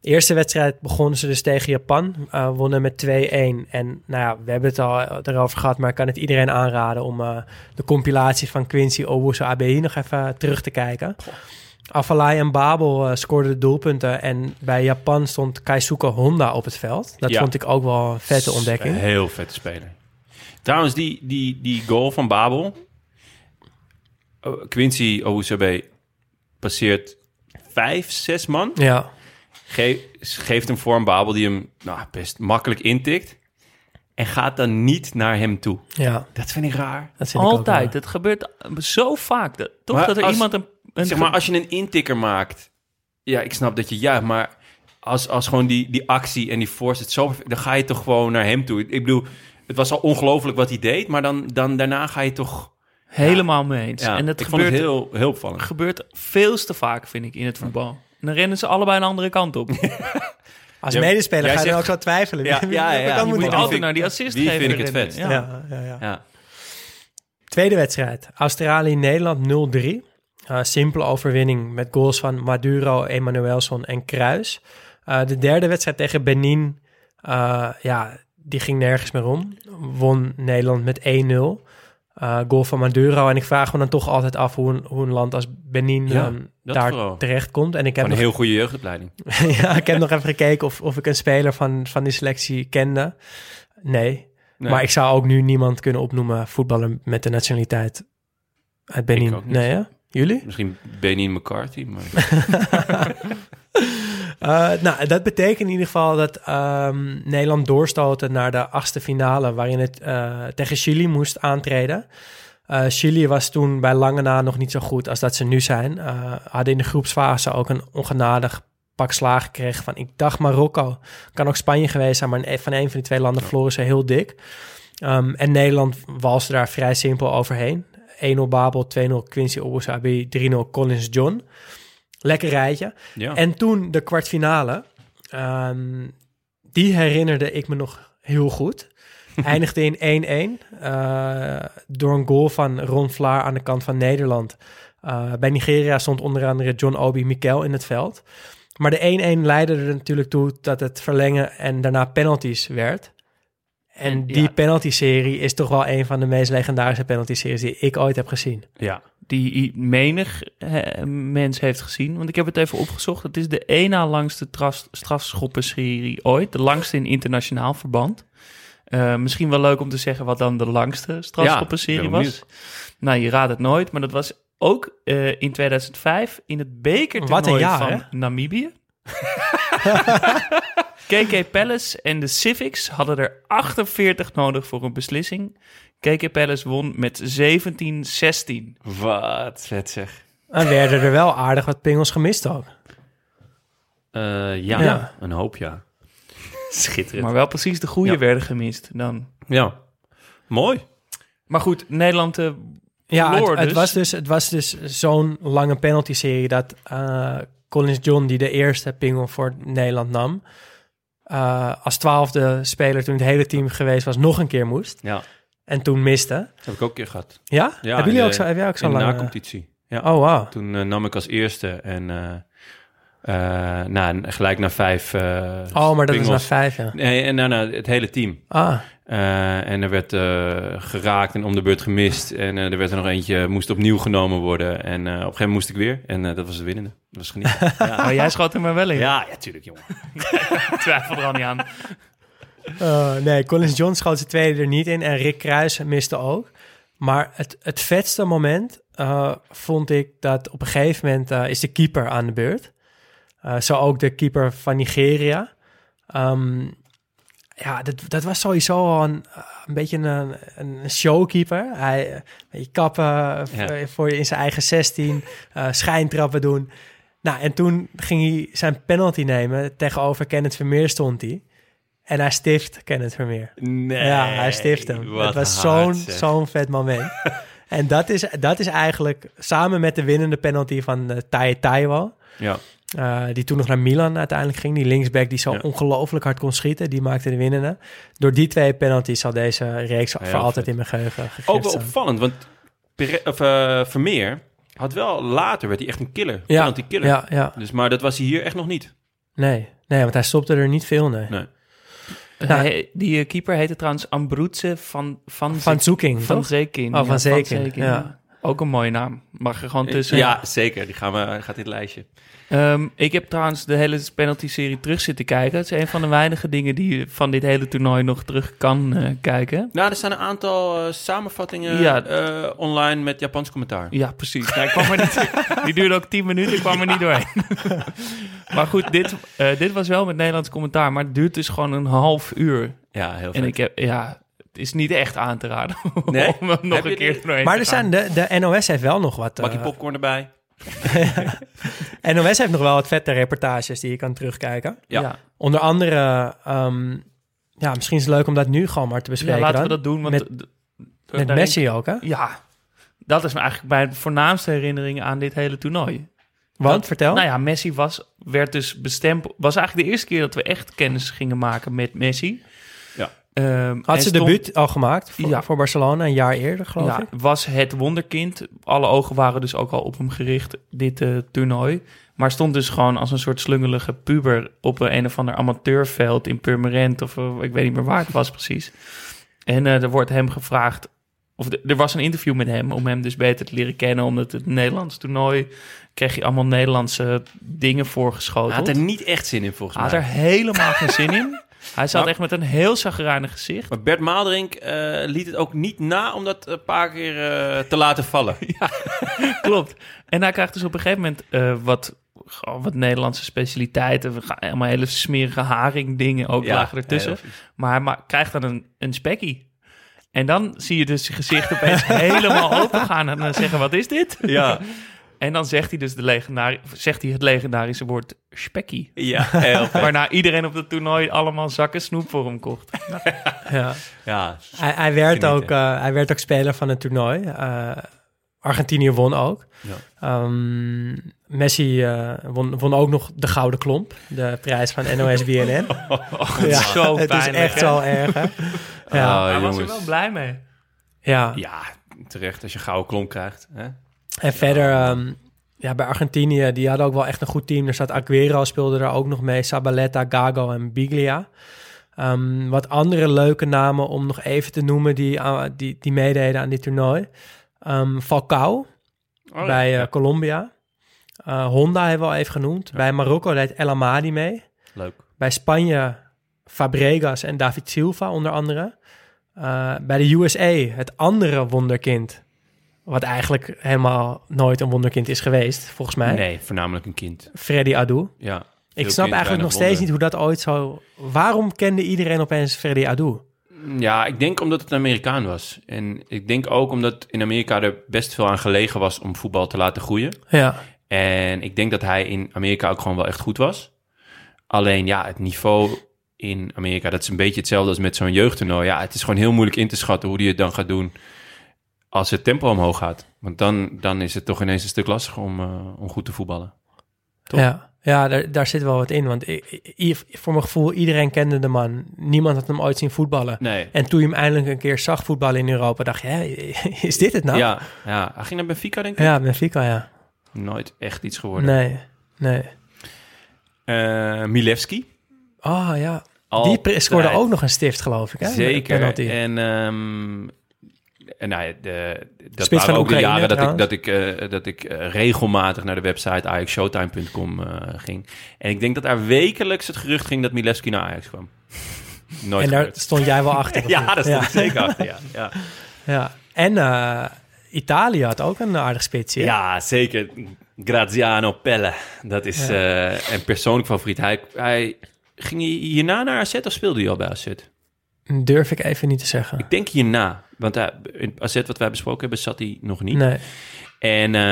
De eerste wedstrijd begonnen ze dus tegen Japan. eh, wonnen met 2-1. En nou ja, we hebben het al eh, erover gehad, maar ik kan het iedereen aanraden om eh, de compilatie van Quincy Owusu ABI nog even terug te kijken. Afalai en Babel eh, scoorden de doelpunten. En bij Japan stond Keisuke Honda op het veld. Dat Ja. vond ik ook wel een vette ontdekking. Een heel vette speler. Trouwens, die, die, die goal van Babel. eh, Quincy Owusabe passeert vijf, zes man. Ja, Ge- geeft hem voor een Babel die hem nou, best makkelijk intikt. En gaat dan niet naar hem toe. ja. Dat vind ik raar. Dat vind Altijd. Ik ook Het gebeurt zo vaak. dat- toch Maar dat er als- iemand een... een Zeg maar, als je een intikker maakt... Ja, ik snap dat je juicht, maar... Als, als gewoon die, die actie en die force het zo... Dan ga je toch gewoon naar hem toe. Ik bedoel, het was al ongelooflijk wat hij deed... Maar dan, dan daarna ga je toch... helemaal mee eens. Ja, en dat ik vond het gebeurt, heel, heel opvallend. gebeurt veel te vaak, vind ik, in het voetbal. En dan rennen ze allebei een andere kant op. wel. Als Ja, medespeler jij ga je dan ook zegt- zo twijfelen. Ja, Wie- ja, wie- ja, dan je moet Moet ik die je vind altijd ik- naar die assist die geven. vind ik het vetst. Ja, ja, ja. Ja. Tweede wedstrijd. Australië-Nederland 0-3. Eh, simpele overwinning met goals van Maduro, Emanuelson en Kruis. Eh, de derde wedstrijd tegen Benin, eh, ja, die ging nergens meer om. Won Nederland met 1-0. Eh, goal van Maduro. En ik vraag me dan toch altijd af hoe een, hoe een land als Benin Ja, ehm, dat daar vooral. terecht komt. En ik Van heb een nog heel goede jeugdopleiding. ja, ik heb nog even gekeken of, of ik een speler van, van die selectie kende. Nee. Nee. Maar ik zou ook nu niemand kunnen opnoemen voetballer met de nationaliteit uit Benin. Ik ook niet. Nee, hè? Jullie? Misschien Benin McCarthy, maar... Eh, nou, dat betekent in ieder geval dat ehm, Nederland doorstoten naar de achtste finale, waarin het eh, tegen Chili moest aantreden. Eh, Chili was toen bij lange na nog niet zo goed als dat ze nu zijn. Eh hadden in de groepsfase ook een ongenadig pak slaag gekregen van, ik dacht Marokko. Kan ook Spanje geweest zijn, maar in- van een van die twee landen verloren ze heel dik. Ehm, en Nederland walste daar vrij simpel overheen. 1-0 Babel, 2-0 Quincy Obusabi, 3-0 Collins John. Lekker rijtje. Ja. Oh. En toen de kwartfinale. ehm, die herinnerde ik me nog heel goed. Eindigde in 1-1. eh, door een goal van Ron Vlaar aan de kant van Nederland. Eh, bij Nigeria stond onder andere John Obi Mikel in het veld. Maar de 1-1 leidde er natuurlijk toe dat het verlengen en daarna penalties werd. En En, die ja. penalty-serie is toch wel een van de meest legendarische penalty-series die ik ooit heb gezien. ja. die menig eh, mens heeft gezien. Want ik heb het even opgezocht. Het is de één na langste tras- strafschoppenserie ooit. De langste in internationaal verband. Eh, misschien wel leuk om te zeggen wat dan de langste strafschoppenserie Ja, ik ben was. Nou, je raadt het nooit. Maar dat was ook eh, in 2005 in het Wat een bekertoernooi jaar, van hè? Namibië. KK Palace en de Civics hadden er 48 nodig voor een beslissing. KK Palace won met 17-16. Wat vet zeg. En werden er wel aardig wat pingels gemist ook. Eh, ja, Ja. een hoop ja. Schitterend. Maar wel precies de goede Ja. werden gemist dan. Ja, mooi. Maar goed, Nederland eh, Ja, het, verloor het dus. was dus, het was dus zo'n lange penalty-serie dat eh, Collins John, die de eerste pingel voor Nederland nam, eh, als twaalfde speler toen het hele team geweest was, nog een keer moest. Ja, En toen miste. heb ik ook een keer gehad. Ja? Ja, Hebben jullie in ook de- zo, heb jij ook in zo'n de lange... na-competitie. Ja. Oh, wauw. Toen eh, nam ik als eerste en eh, eh, nou, gelijk na vijf... eh, Oh, maar dat is pingels. na vijf, ja. Nee, en daarna het nou, hele team. Ah, Eh, en er werd eh, geraakt en om de beurt gemist. En eh, er werd er nog eentje, moest opnieuw genomen worden. En eh, op een gegeven moment moest ik weer. En eh, dat was het winnende. Dat was genieten. Maar oh, jij schoot er maar wel in. ja, ja, tuurlijk, jongen. Ik twijfel er al niet aan. Eh, nee, Collins John schoot zijn tweede er niet in en Rick Kruis miste ook. Maar het, het vetste moment eh, vond ik dat op een gegeven moment eh, is de keeper aan de beurt. Eh, zo ook de keeper van Nigeria. Ehm, ja, dat, dat was sowieso al een, een beetje een, een showkeeper. Hij eh, een beetje kappen voor- voor je in zijn eigen 16, eh, schijntrappen doen. Nou, en toen ging hij zijn penalty nemen. Tegenover Kenneth Vermeer stond hij. En hij stift Kenneth Vermeer. Nee. ja, hij stift hem. wat Het was hard, zo'n zeg. zo'n vet moment. en dat is, dat is eigenlijk samen met de winnende penalty van eh Tai Taiwo. Ja. eh, die toen nog naar Milan uiteindelijk ging. Die linksback die zo Ja. ongelooflijk hard kon schieten. Die maakte de winnende. Door die twee penalties zal deze reeks Heel voor vet. altijd Oh, in mijn geheugen gegrift Ook wel staan. opvallend, want Pere- of, eh, Vermeer had wel later, werd hij echt een killer. Ja, Ja. killer. Ja, ja. Dus, maar dat was hij hier echt nog niet. Nee. nee, want hij stopte er niet veel, nee. Nee. Nou, Hij- die eh, keeper heette trouwens Ambroetse van, van, Van Zoeking, Van toch? Zeekin. Oh, Van Zeekin, ja. Ook een mooie naam. Mag er gewoon tussen. Ja, zeker. Die gaan we, gaat dit lijstje. Ehm, ik heb trouwens de hele penalty-serie terug zitten kijken. Het is een van de weinige dingen die je van dit hele toernooi nog terug kan eh, kijken. Nou, er staan een aantal eh, samenvattingen Ja. eh, online met Japans commentaar. Ja, precies. Nou, ik kwam er niet, die duurde ook 10 minuten, ik kwam er niet doorheen. maar goed, dit, eh, dit was wel met Nederlands commentaar, maar het duurt dus gewoon een half uur. Ja, heel En vet. ik heb, ja, het is niet echt aan te raden Nee? om hem nog Heb je een keer die- doorheen Maar te er gaan. zijn de, de NOS heeft wel nog wat... Bakje eh, popcorn erbij. NOS heeft nog wel wat vette reportages die je kan terugkijken. Ja. Onder andere, ehm, ja, misschien is het leuk om dat nu gewoon maar te Ja, bespreken. laten dan. we dat doen. Want Met- d- d- Met daarin- Messi ook, hè? Ja, dat is eigenlijk mijn voornaamste herinnering aan dit hele toernooi. Want, Dat- vertel. Nou ja, Messi was, werd dus bestempeld. Was eigenlijk de eerste keer dat we echt kennis gingen maken met Messi. Ja. Ehm, Had en ze stond- debuut al gemaakt voor, Ja. voor Barcelona een jaar eerder, geloof ja, ik? was het wonderkind. Alle ogen waren dus ook al op hem gericht, dit eh, toernooi. Maar stond dus gewoon als een soort slungelige puber op een, een of ander amateurveld in Purmerend. Of eh, ik weet niet meer waar het was precies. En eh, er wordt hem gevraagd, of de- er was een interview met hem om hem dus beter te leren kennen. Omdat het Nederlands toernooi, kreeg hij allemaal Nederlandse dingen Hij voorgeschoteld. had er niet echt zin in, volgens Had mij. er helemaal geen zin in. Hij zat Maar- echt met een heel zagrijnig gezicht. Maar Bert Maalderink eh, liet het ook niet na om dat een paar keer eh, te laten vallen. Klopt. En hij krijgt dus op een gegeven moment eh, wat, gewoon wat Nederlandse specialiteiten. We gaan Helemaal hele smerige haringdingen ook lagen ertussen. heel vet. Maar hij ma- krijgt dan een, een spekkie. En dan zie je dus zijn gezicht opeens helemaal open gaan en dan zeggen, wat is dit? Ja, En dan zegt hij dus de legendari- of zegt hij het legendarische woord spekkie. ja, heel vet. Waarna iedereen op het toernooi allemaal zakken snoep voor hem kocht. Ja. Ja, Hij, hij, werd Genieten. ook, eh, hij werd ook speler van het toernooi. Eh, Argentinië won ook. Ja. Ehm, Messi eh, won, won ook nog de Gouden Klomp, de prijs van NOS-BNN. ja, zo het is pijnlijk, echt hè? zo erg, hè? Ja. Ah, hij was er jongens. wel blij mee. ja. Ja, terecht als je een gouden klomp krijgt. Hè? En verder, ehm, ja, bij Argentinië, die hadden ook wel echt een goed team. Er zat Aguero, speelde er ook nog mee. Sabaleta, Gago en Biglia. Ehm, wat andere leuke namen om nog even te noemen die, aan- die, die meededen aan dit toernooi. Ehm, Falcao bij eh, Colombia. Eh, Honda hebben we al even genoemd. Bij Marokko deed El Amadi mee. Leuk. Bij Spanje Fabregas en David Silva onder andere. Eh, bij de USA het andere wonderkind. Wat eigenlijk helemaal nooit een wonderkind is geweest, volgens mij. Nee, voornamelijk een kind. Freddy Adu. Ja. Ik snap eigenlijk nog steeds niet hoe dat ooit zo... Waarom kende iedereen opeens Freddy Adu? Ja, ik denk omdat het een Amerikaan was. En ik denk ook omdat in Amerika er best veel aan gelegen was om voetbal te laten groeien. Ja, En ik denk dat hij in Amerika ook gewoon wel echt goed was. Alleen ja, het niveau in Amerika, dat is een beetje hetzelfde als met zo'n jeugdtoernooi. Ja, het is gewoon heel moeilijk in te schatten hoe die het dan gaat doen als het tempo omhoog gaat. Want dan, dan is het toch ineens een stuk lastiger om, eh, om goed te voetballen. Toch? ja. ja daar, daar zit wel wat in. Want i- i- i- voor mijn gevoel, iedereen kende de man. Niemand had hem ooit zien voetballen. Nee. En toen je hem eindelijk een keer zag voetballen in Europa, dacht je... Hè, is dit het nou? Ja, ja, hij ging naar Benfica, denk ik. ja Benfica, ja. Nooit echt iets geworden. Nee, nee. Eh, Milevski. Ah ja, Altijd. Die pre- scoorde ook nog een stift, geloof ik. Hè? Zeker. Penalty. En, ehm, en nou ja, de, dat Spits van waren ook de Oekraïne jaren dat ik, trouwens. dat ik, eh, dat ik eh, regelmatig naar de website ajaxshowtime.com eh, ging. En ik denk dat daar wekelijks het gerucht ging dat Milevski naar Ajax kwam. Nooit En daar gebeurd. stond jij wel achter. Ja, natuurlijk. dat stond ik zeker achter, ja. Ja, Ja. En eh, Italië had ook een aardig spitsje. ja zeker. Graziano Pelle. Dat is Ja. eh, een persoonlijk favoriet. Hij, hij ging hij hierna naar AZ of speelde hij al bij AZ? Durf ik even niet te zeggen. Ik denk hierna. Want hij, in AZ wat wij besproken hebben, zat hij nog niet. Nee. En eh,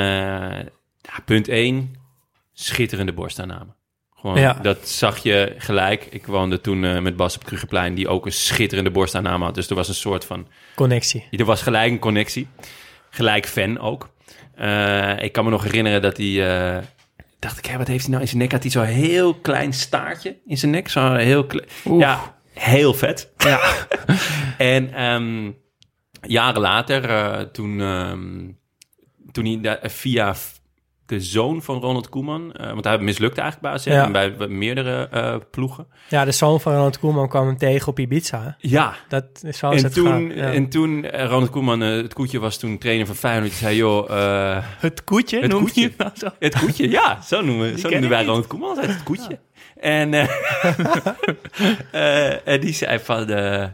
ja, punt 1, schitterende borstaanname. Gewoon, Ja. dat zag je gelijk. Ik woonde toen eh, met Bas op het Krugerplein, die ook een schitterende borstaanname had. Dus er was een soort van, Connectie. er was gelijk een connectie. Gelijk fan ook. Eh, ik kan me nog herinneren dat hij, eh, dacht ik, hé, wat heeft hij nou in zijn nek? Had hij zo'n heel klein staartje in zijn nek? Zo'n heel klein, ja, heel vet. Ja. en ehm, jaren later, eh, toen... ehm, toen hij da- via f- de zoon van Ronald Koeman, eh, want hij mislukte eigenlijk bij AZ Ja. en bij bij meerdere eh, ploegen. Ja, de zoon van Ronald Koeman kwam hem tegen op Ibiza. Ja. Dat is Oh, zo is En het toen, gegaan. Ja. en toen eh, Ronald Koeman, eh, het koetje was toen trainer van Feyenoord, die zei, joh, eh, Het koetje Het noemt koetje. je het nou zo? het koetje, ja, zo noemen, we- zo ken noemen ik wij niet. Ah. Ronald Koeman altijd, het koetje. En, eh, eh, en die zei van, eh,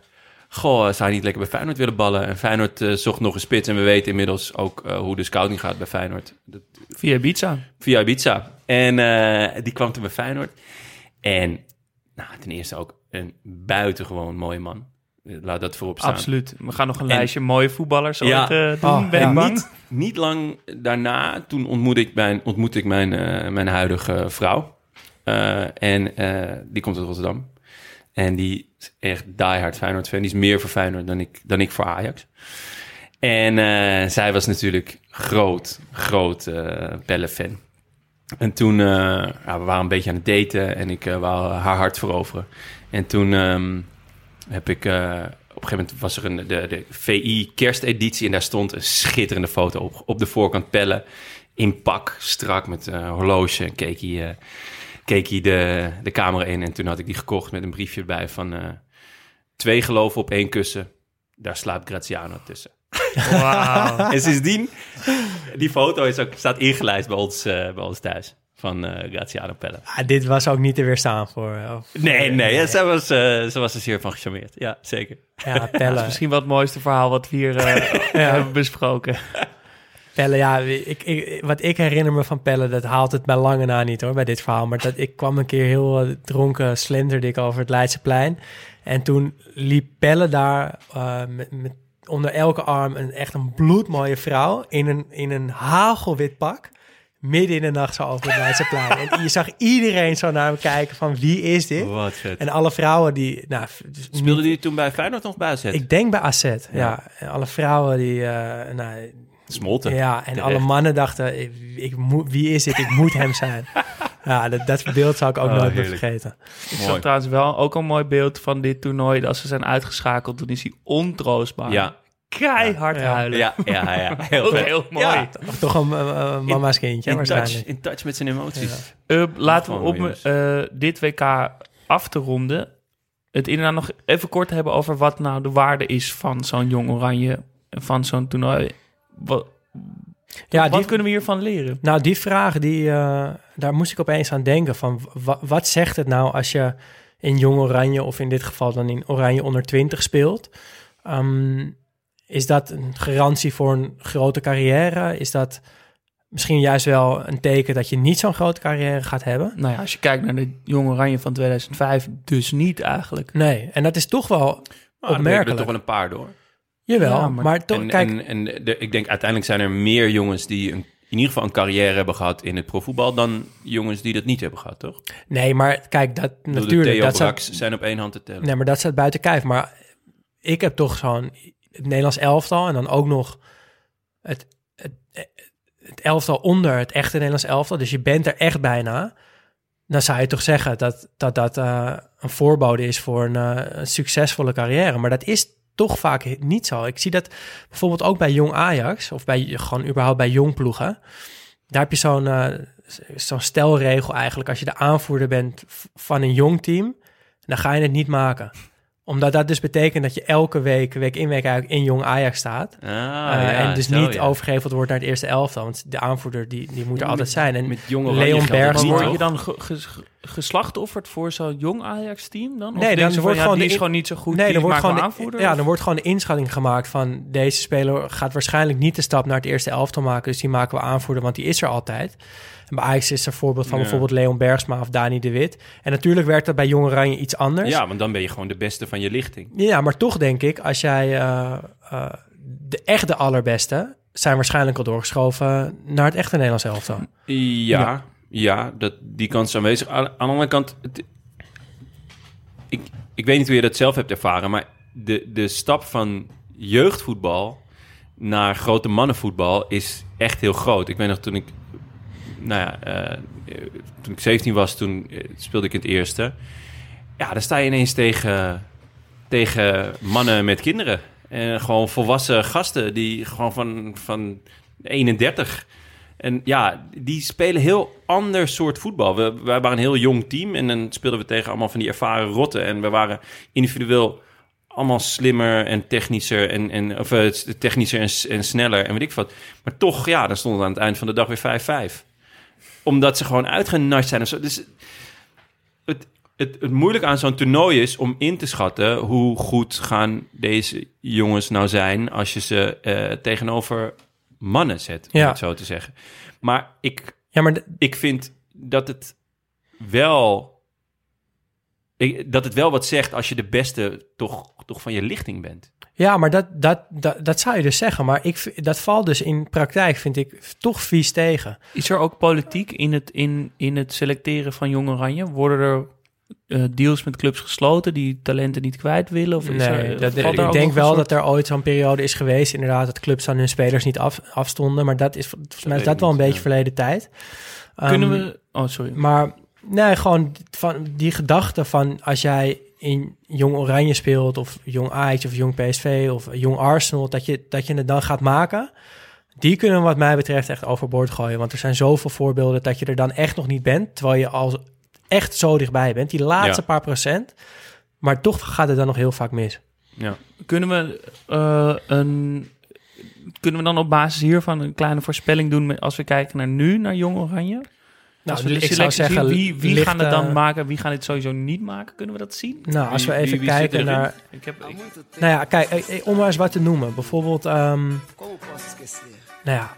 goh, zou je niet lekker bij Feyenoord willen ballen? En Feyenoord eh, zocht nog een spits en we weten inmiddels ook eh, hoe de scouting gaat bij Feyenoord. Dat- Via Ibiza. via Ibiza. En eh, die kwam toen bij Feyenoord. En nou, ten eerste ook een buitengewoon mooie man. Laat dat voorop staan. Absoluut. We gaan nog een En- lijstje mooie voetballers Ja. ooit eh, doen, Oh, ben ja. ik bang. Niet, niet lang daarna, toen ontmoette ik mijn, ontmoette ik mijn, eh, mijn huidige vrouw. Eh, en eh, die komt uit Rotterdam. En die is echt diehard Feyenoord-fan. Die is meer voor Feyenoord dan ik, dan ik voor Ajax. En eh, zij was natuurlijk groot, groot eh Pelle-fan. En toen, eh, ja, we waren een beetje aan het daten en ik eh, wou haar hart veroveren. En toen ehm, heb ik, eh, op een gegeven moment was er een, de, de VI kersteditie en daar stond een schitterende foto op. Op de voorkant pellen, in pak, strak met eh, horloge. En keek hij, eh, keek hij de, de camera in en toen had ik die gekocht met een briefje erbij van eh, twee geloven op één kussen. Daar slaapt Graziano tussen. Wauw. En sindsdien, die foto is ook, staat ingelijst bij ons, eh, bij ons thuis. Van eh Graziano Pelle. Ah, dit was ook niet te weerstaan voor. eh, of- Nee, nee, ja, zij was, eh, ze was er zeer van gecharmeerd. Ja, zeker. Ja, Dat is Pelle. misschien wel het mooiste verhaal wat we hier eh, hebben besproken. Pelle, ja, ik, ik, wat ik herinner me van Pelle, dat haalt het bij lange na niet hoor, bij dit verhaal. Maar dat, ik kwam een keer heel eh, dronken, slenderde ik over het Leidseplein. En toen liep Pelle daar eh, met, met onder elke arm een echt een bloedmooie vrouw in een, in een hagelwit pak. Midden in de nacht zo over het Leidseplein. en je zag iedereen zo naar hem kijken van wie is dit? Wat vet. En alle vrouwen die, nou, dus Speelde die toen bij Feyenoord nog bij AZ? ik denk bij AZ, ja. En Alle vrouwen die, eh, nou, Smolten. ja, en alle mannen dachten, ik, ik moet, wie is dit? Ik moet hem zijn. ja, dat, dat beeld zou ik ook nooit meer heerlijk. vergeten. Ik zag trouwens wel ook een mooi beeld van dit toernooi. Als ze zijn uitgeschakeld, dan is hij ontroostbaar. Ja, Keihard huilen. ja, ja, ja. Heel Ook vet. heel mooi. Ja. Of toch een eh, eh, mama's kindje In touch, waarschijnlijk. in touch met zijn emoties. Eh, laten we Gewoon, om jongens. eh, dit WK af te ronden... het inderdaad nog even kort hebben over wat nou de waarde is van zo'n Jong Oranje... en van zo'n toernooi. Wat, Ja, wat die, kunnen we hiervan leren? nou die vraag, die, eh, daar moest ik opeens aan denken. Van, wa- wat zegt het nou als je in Jong Oranje, of in dit geval dan in Oranje onder 20 speelt? Ehm, is dat een garantie voor een grote carrière? Is dat misschien juist wel een teken dat je niet zo'n grote carrière gaat hebben? Nou ja, als je kijkt naar de Jong Oranje van 2005, dus niet eigenlijk. Nee, en dat is toch wel Maar er hebben er opmerkelijk. toch wel een paar door. Jawel, Ja, maar- maar, toch, en, kijk, en, en de- ik denk uiteindelijk zijn er meer jongens die een, in ieder geval een carrière hebben gehad in het profvoetbal dan jongens die dat niet hebben gehad, toch? Ik nee, maar kijk, dat bedoel, de natuurlijk, Theo dat Brax staat, zijn op één hand te tellen. nee, maar dat staat buiten kijf. Maar ik heb toch zo'n het Nederlands elftal en dan ook nog het, het, het elftal onder het echte Nederlands elftal. Dus je bent er echt bijna. Dan zou je toch zeggen dat dat, dat eh, een voorbode is voor een, eh, een succesvolle carrière. Maar dat is toch vaak niet zo. Ik zie dat bijvoorbeeld ook bij jong Ajax of bij, gewoon überhaupt bij jong ploegen. Daar heb je zo'n eh, zo'n stelregel eigenlijk. Als je de aanvoerder bent v- van een jong team, dan ga je het niet maken. Omdat dat dus betekent dat je elke week, week in week uit, in jong Ajax staat. Ah, Eh, ja, en dus zo, niet ja. overgeheveld wordt naar het eerste elftal. Want de aanvoerder die, die moet er Ja, altijd zijn. En Met jonge Leon Oranje geldt dat Bergman. Maar niet, word je toch? dan ge- ge- geslachtofferd voor zo'n jong Ajax-team dan? Of Nee, dan denken ze wordt van, gewoon ja, de die is in- gewoon niet zo goed, nee, nee, er die wordt, maakt gewoon wel de, aanvoerder? ja, Of- er wordt gewoon de inschatting gemaakt van deze speler gaat waarschijnlijk niet de stap naar het eerste elftal maken. Dus die maken we aanvoerder, want die is er altijd. En bij Ajax is er een voorbeeld van Ja. bijvoorbeeld Leon Bergsma of Dani de Wit. En natuurlijk werkt dat bij Jong Oranje iets anders. Ja, want dan ben je gewoon de beste van je lichting. Ja, maar toch denk ik, als jij eh, eh, de echte allerbeste zijn waarschijnlijk al doorgeschoven naar het echte Nederlands elftal. Ja, ja. dat, die kans is aanwezig. Aan, aan de andere kant, het- ik, ik weet niet hoe je dat zelf hebt ervaren, maar de, de stap van jeugdvoetbal naar grote mannenvoetbal is echt heel groot. Ik weet nog toen ik, nou ja, eh, eh, toen ik 17 was, toen eh, speelde ik in het eerste. Ja, dan sta je ineens tegen, tegen mannen met kinderen. En gewoon volwassen gasten die gewoon van, van 31. En ja, die spelen heel ander soort voetbal. We, wij waren een heel jong team en dan speelden we tegen allemaal van die ervaren rotten. En we waren individueel allemaal slimmer en technischer en, en of eh, technischer en, s- en sneller en weet ik wat. Maar toch, ja, dan stonden we aan het eind van de dag weer 5-5. Omdat ze gewoon uitgenast zijn of zo. Dus het, het, het moeilijk aan zo'n toernooi is om in te schatten hoe goed gaan deze jongens nou zijn als je ze eh, tegenover mannen zet, om Ja. het zo te zeggen. Maar ik, Ja, maar d- ik vind dat het wel. Ik, dat het wel wat zegt als je de beste toch, toch van je lichting bent. Ja, maar dat, dat, dat, dat zou je dus zeggen. Maar ik, v- dat valt dus in praktijk, vind ik, toch vies tegen. Is er ook politiek in het, in, in het selecteren van Jong Oranje? Worden er eh, deals met clubs gesloten die talenten niet kwijt willen? Of is Nee, er, dat, valt daar ik ook denk nog wel een soort- dat er ooit zo'n periode is geweest, inderdaad, dat clubs aan hun spelers niet af, afstonden. Maar dat is, vol- volgens mij is weet ik dat wel een niet, beetje ja. verleden tijd. Kunnen Ehm, we... Oh, sorry. Maar nee, gewoon van die gedachte van als jij in jong Oranje speelt of jong Ajax of jong PSV of jong Arsenal, dat je, dat je het dan gaat maken. Die kunnen we wat mij betreft echt overboord gooien. Want er zijn zoveel voorbeelden dat je er dan echt nog niet bent. Terwijl je al echt zo dichtbij bent. Die laatste Ja. paar procent. Maar toch gaat het dan nog heel vaak mis. Nou, Ja. Kunnen we, eh, een, kunnen we dan op basis hiervan een kleine voorspelling doen met, als we kijken naar nu, naar Jong Oranje? als we de selectie dus zien, wie, wie ligt, gaan het dan eh, maken, wie gaan dit sowieso niet maken? Kunnen we dat zien? Nou, als we Wie- wie- even wie zit kijken erin? naar... Ik heb, ik- Nou ja, kijk, eh, eh, om maar eens wat te noemen. Bijvoorbeeld, ehm, Como posso esquecer? nou ja,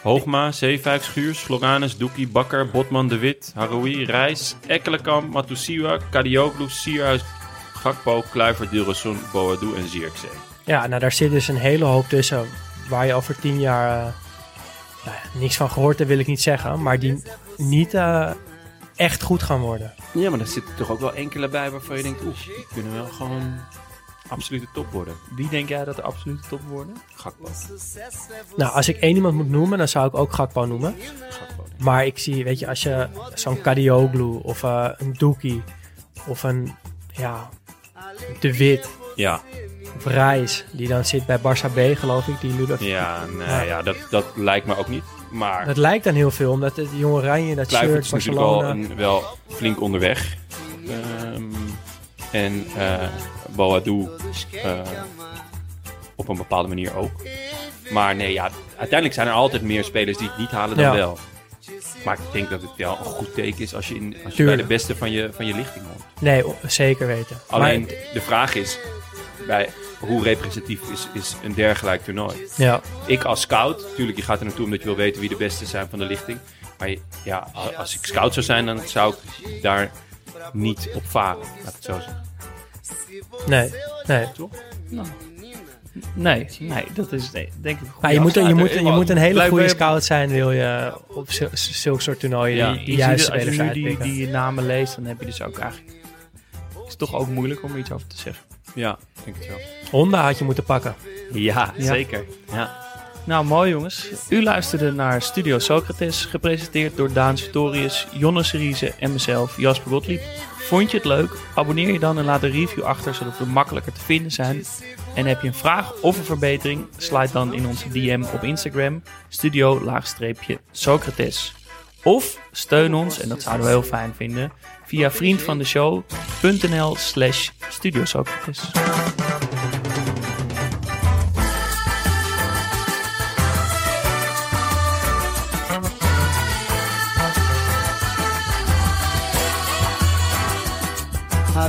Hoogma, Zeefuik, Schuurs, Floranus, Doekie, Bakker, Botman, De Wit, Haroui, Reis, Ekkelenkamp, Matusiwa, Kadioglu, Sierhuis, Gakpo, Kluivert, Dilrosun, Boadu en Zierkzee. Ja, nou daar zit dus een hele hoop tussen waar je over tien jaar eh, nou ja, niks van gehoord hebt, wil ik niet zeggen. Maar die niet eh, echt goed gaan worden. Ja, maar er zitten toch ook wel enkele bij waarvan je denkt, oeh, die kunnen wel gewoon absolute top worden. wie denk jij dat er absoluut top worden? Gakpo. Nou, als ik één iemand moet noemen, dan zou ik ook Gakpo noemen. Maar ik zie, weet je, als je zo'n Kadioglu of eh, een Doekie of een, ja, De Wit Ja, of Reis, die dan zit bij Barça B, geloof ik, die nu dat... ja, nee, ja dat, dat lijkt me ook niet. Maar Dat lijkt dan heel veel, omdat het Jong Oranje, dat Kluivert shirt, is natuurlijk al Barcelona... een, wel flink onderweg. Ehm, en eh Boadu eh, op een bepaalde manier ook. Maar nee, ja, uiteindelijk zijn er altijd meer spelers die het niet halen dan Ja. wel. Maar ik denk dat het wel een goed teken is als je, in, als je bij Tuurlijk. de beste van je, van je lichting hoort. Nee, o- zeker weten. Maar- Alleen de vraag is, bij, hoe representatief is, is een dergelijk toernooi? ja. ik als scout, tuurlijk, je gaat er naartoe omdat je wil weten wie de beste zijn van de lichting. Maar je- ja, a- als ik scout zou zijn, dan zou ik daar niet op varen. Laat ik het zo zeggen. Nee, nee. Nee, nee, dat is nee, denk ik. Maar je, moet, je, moet, je moet een hele Leuk, goede eh, scout zijn, wil je op zul- zulke soort toernooien Ja, die, Je die ziet het, juiste als je spelers nu die, uitpikken. die je namen leest, dan heb je dus ook eigenlijk. Het is toch ook moeilijk om er iets over te zeggen. Ja, ik denk het wel. Honda had je moeten pakken. Ja, zeker. Ja. Nou, mooi jongens. U luisterde naar Studio Socrates, gepresenteerd door Daan Sartorius, Jonne Serize en mezelf, Jasper Gottlieb. Vond je het leuk? Abonneer je dan en laat een review achter, zodat we makkelijker te vinden zijn. En heb je een vraag of een verbetering? Slide dan in onze DM op Instagram, studio-socrates. Of steun ons, en dat zouden we heel fijn vinden, via vriendvandeshow.nl slash studiosocrates. A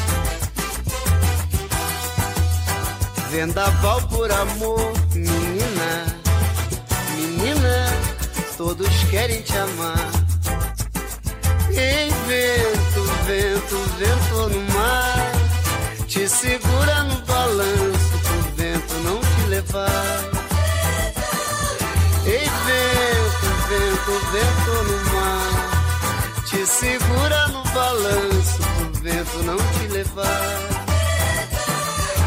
Vendaval por amor, menina, menina, todos querem te amar. Ei, vento, vento, vento no mar, te segura no balanço pro vento não te levar. Ei, vento, vento, vento no mar, te segura no balanço pro vento não te levar.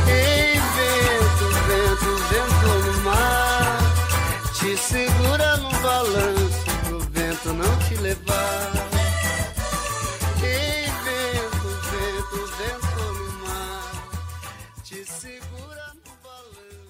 Ei, vento, vento, vento no mar, te segura no balanço pro vento não te levar. Ei, vento, vento, vento no mar, te segura no balanço.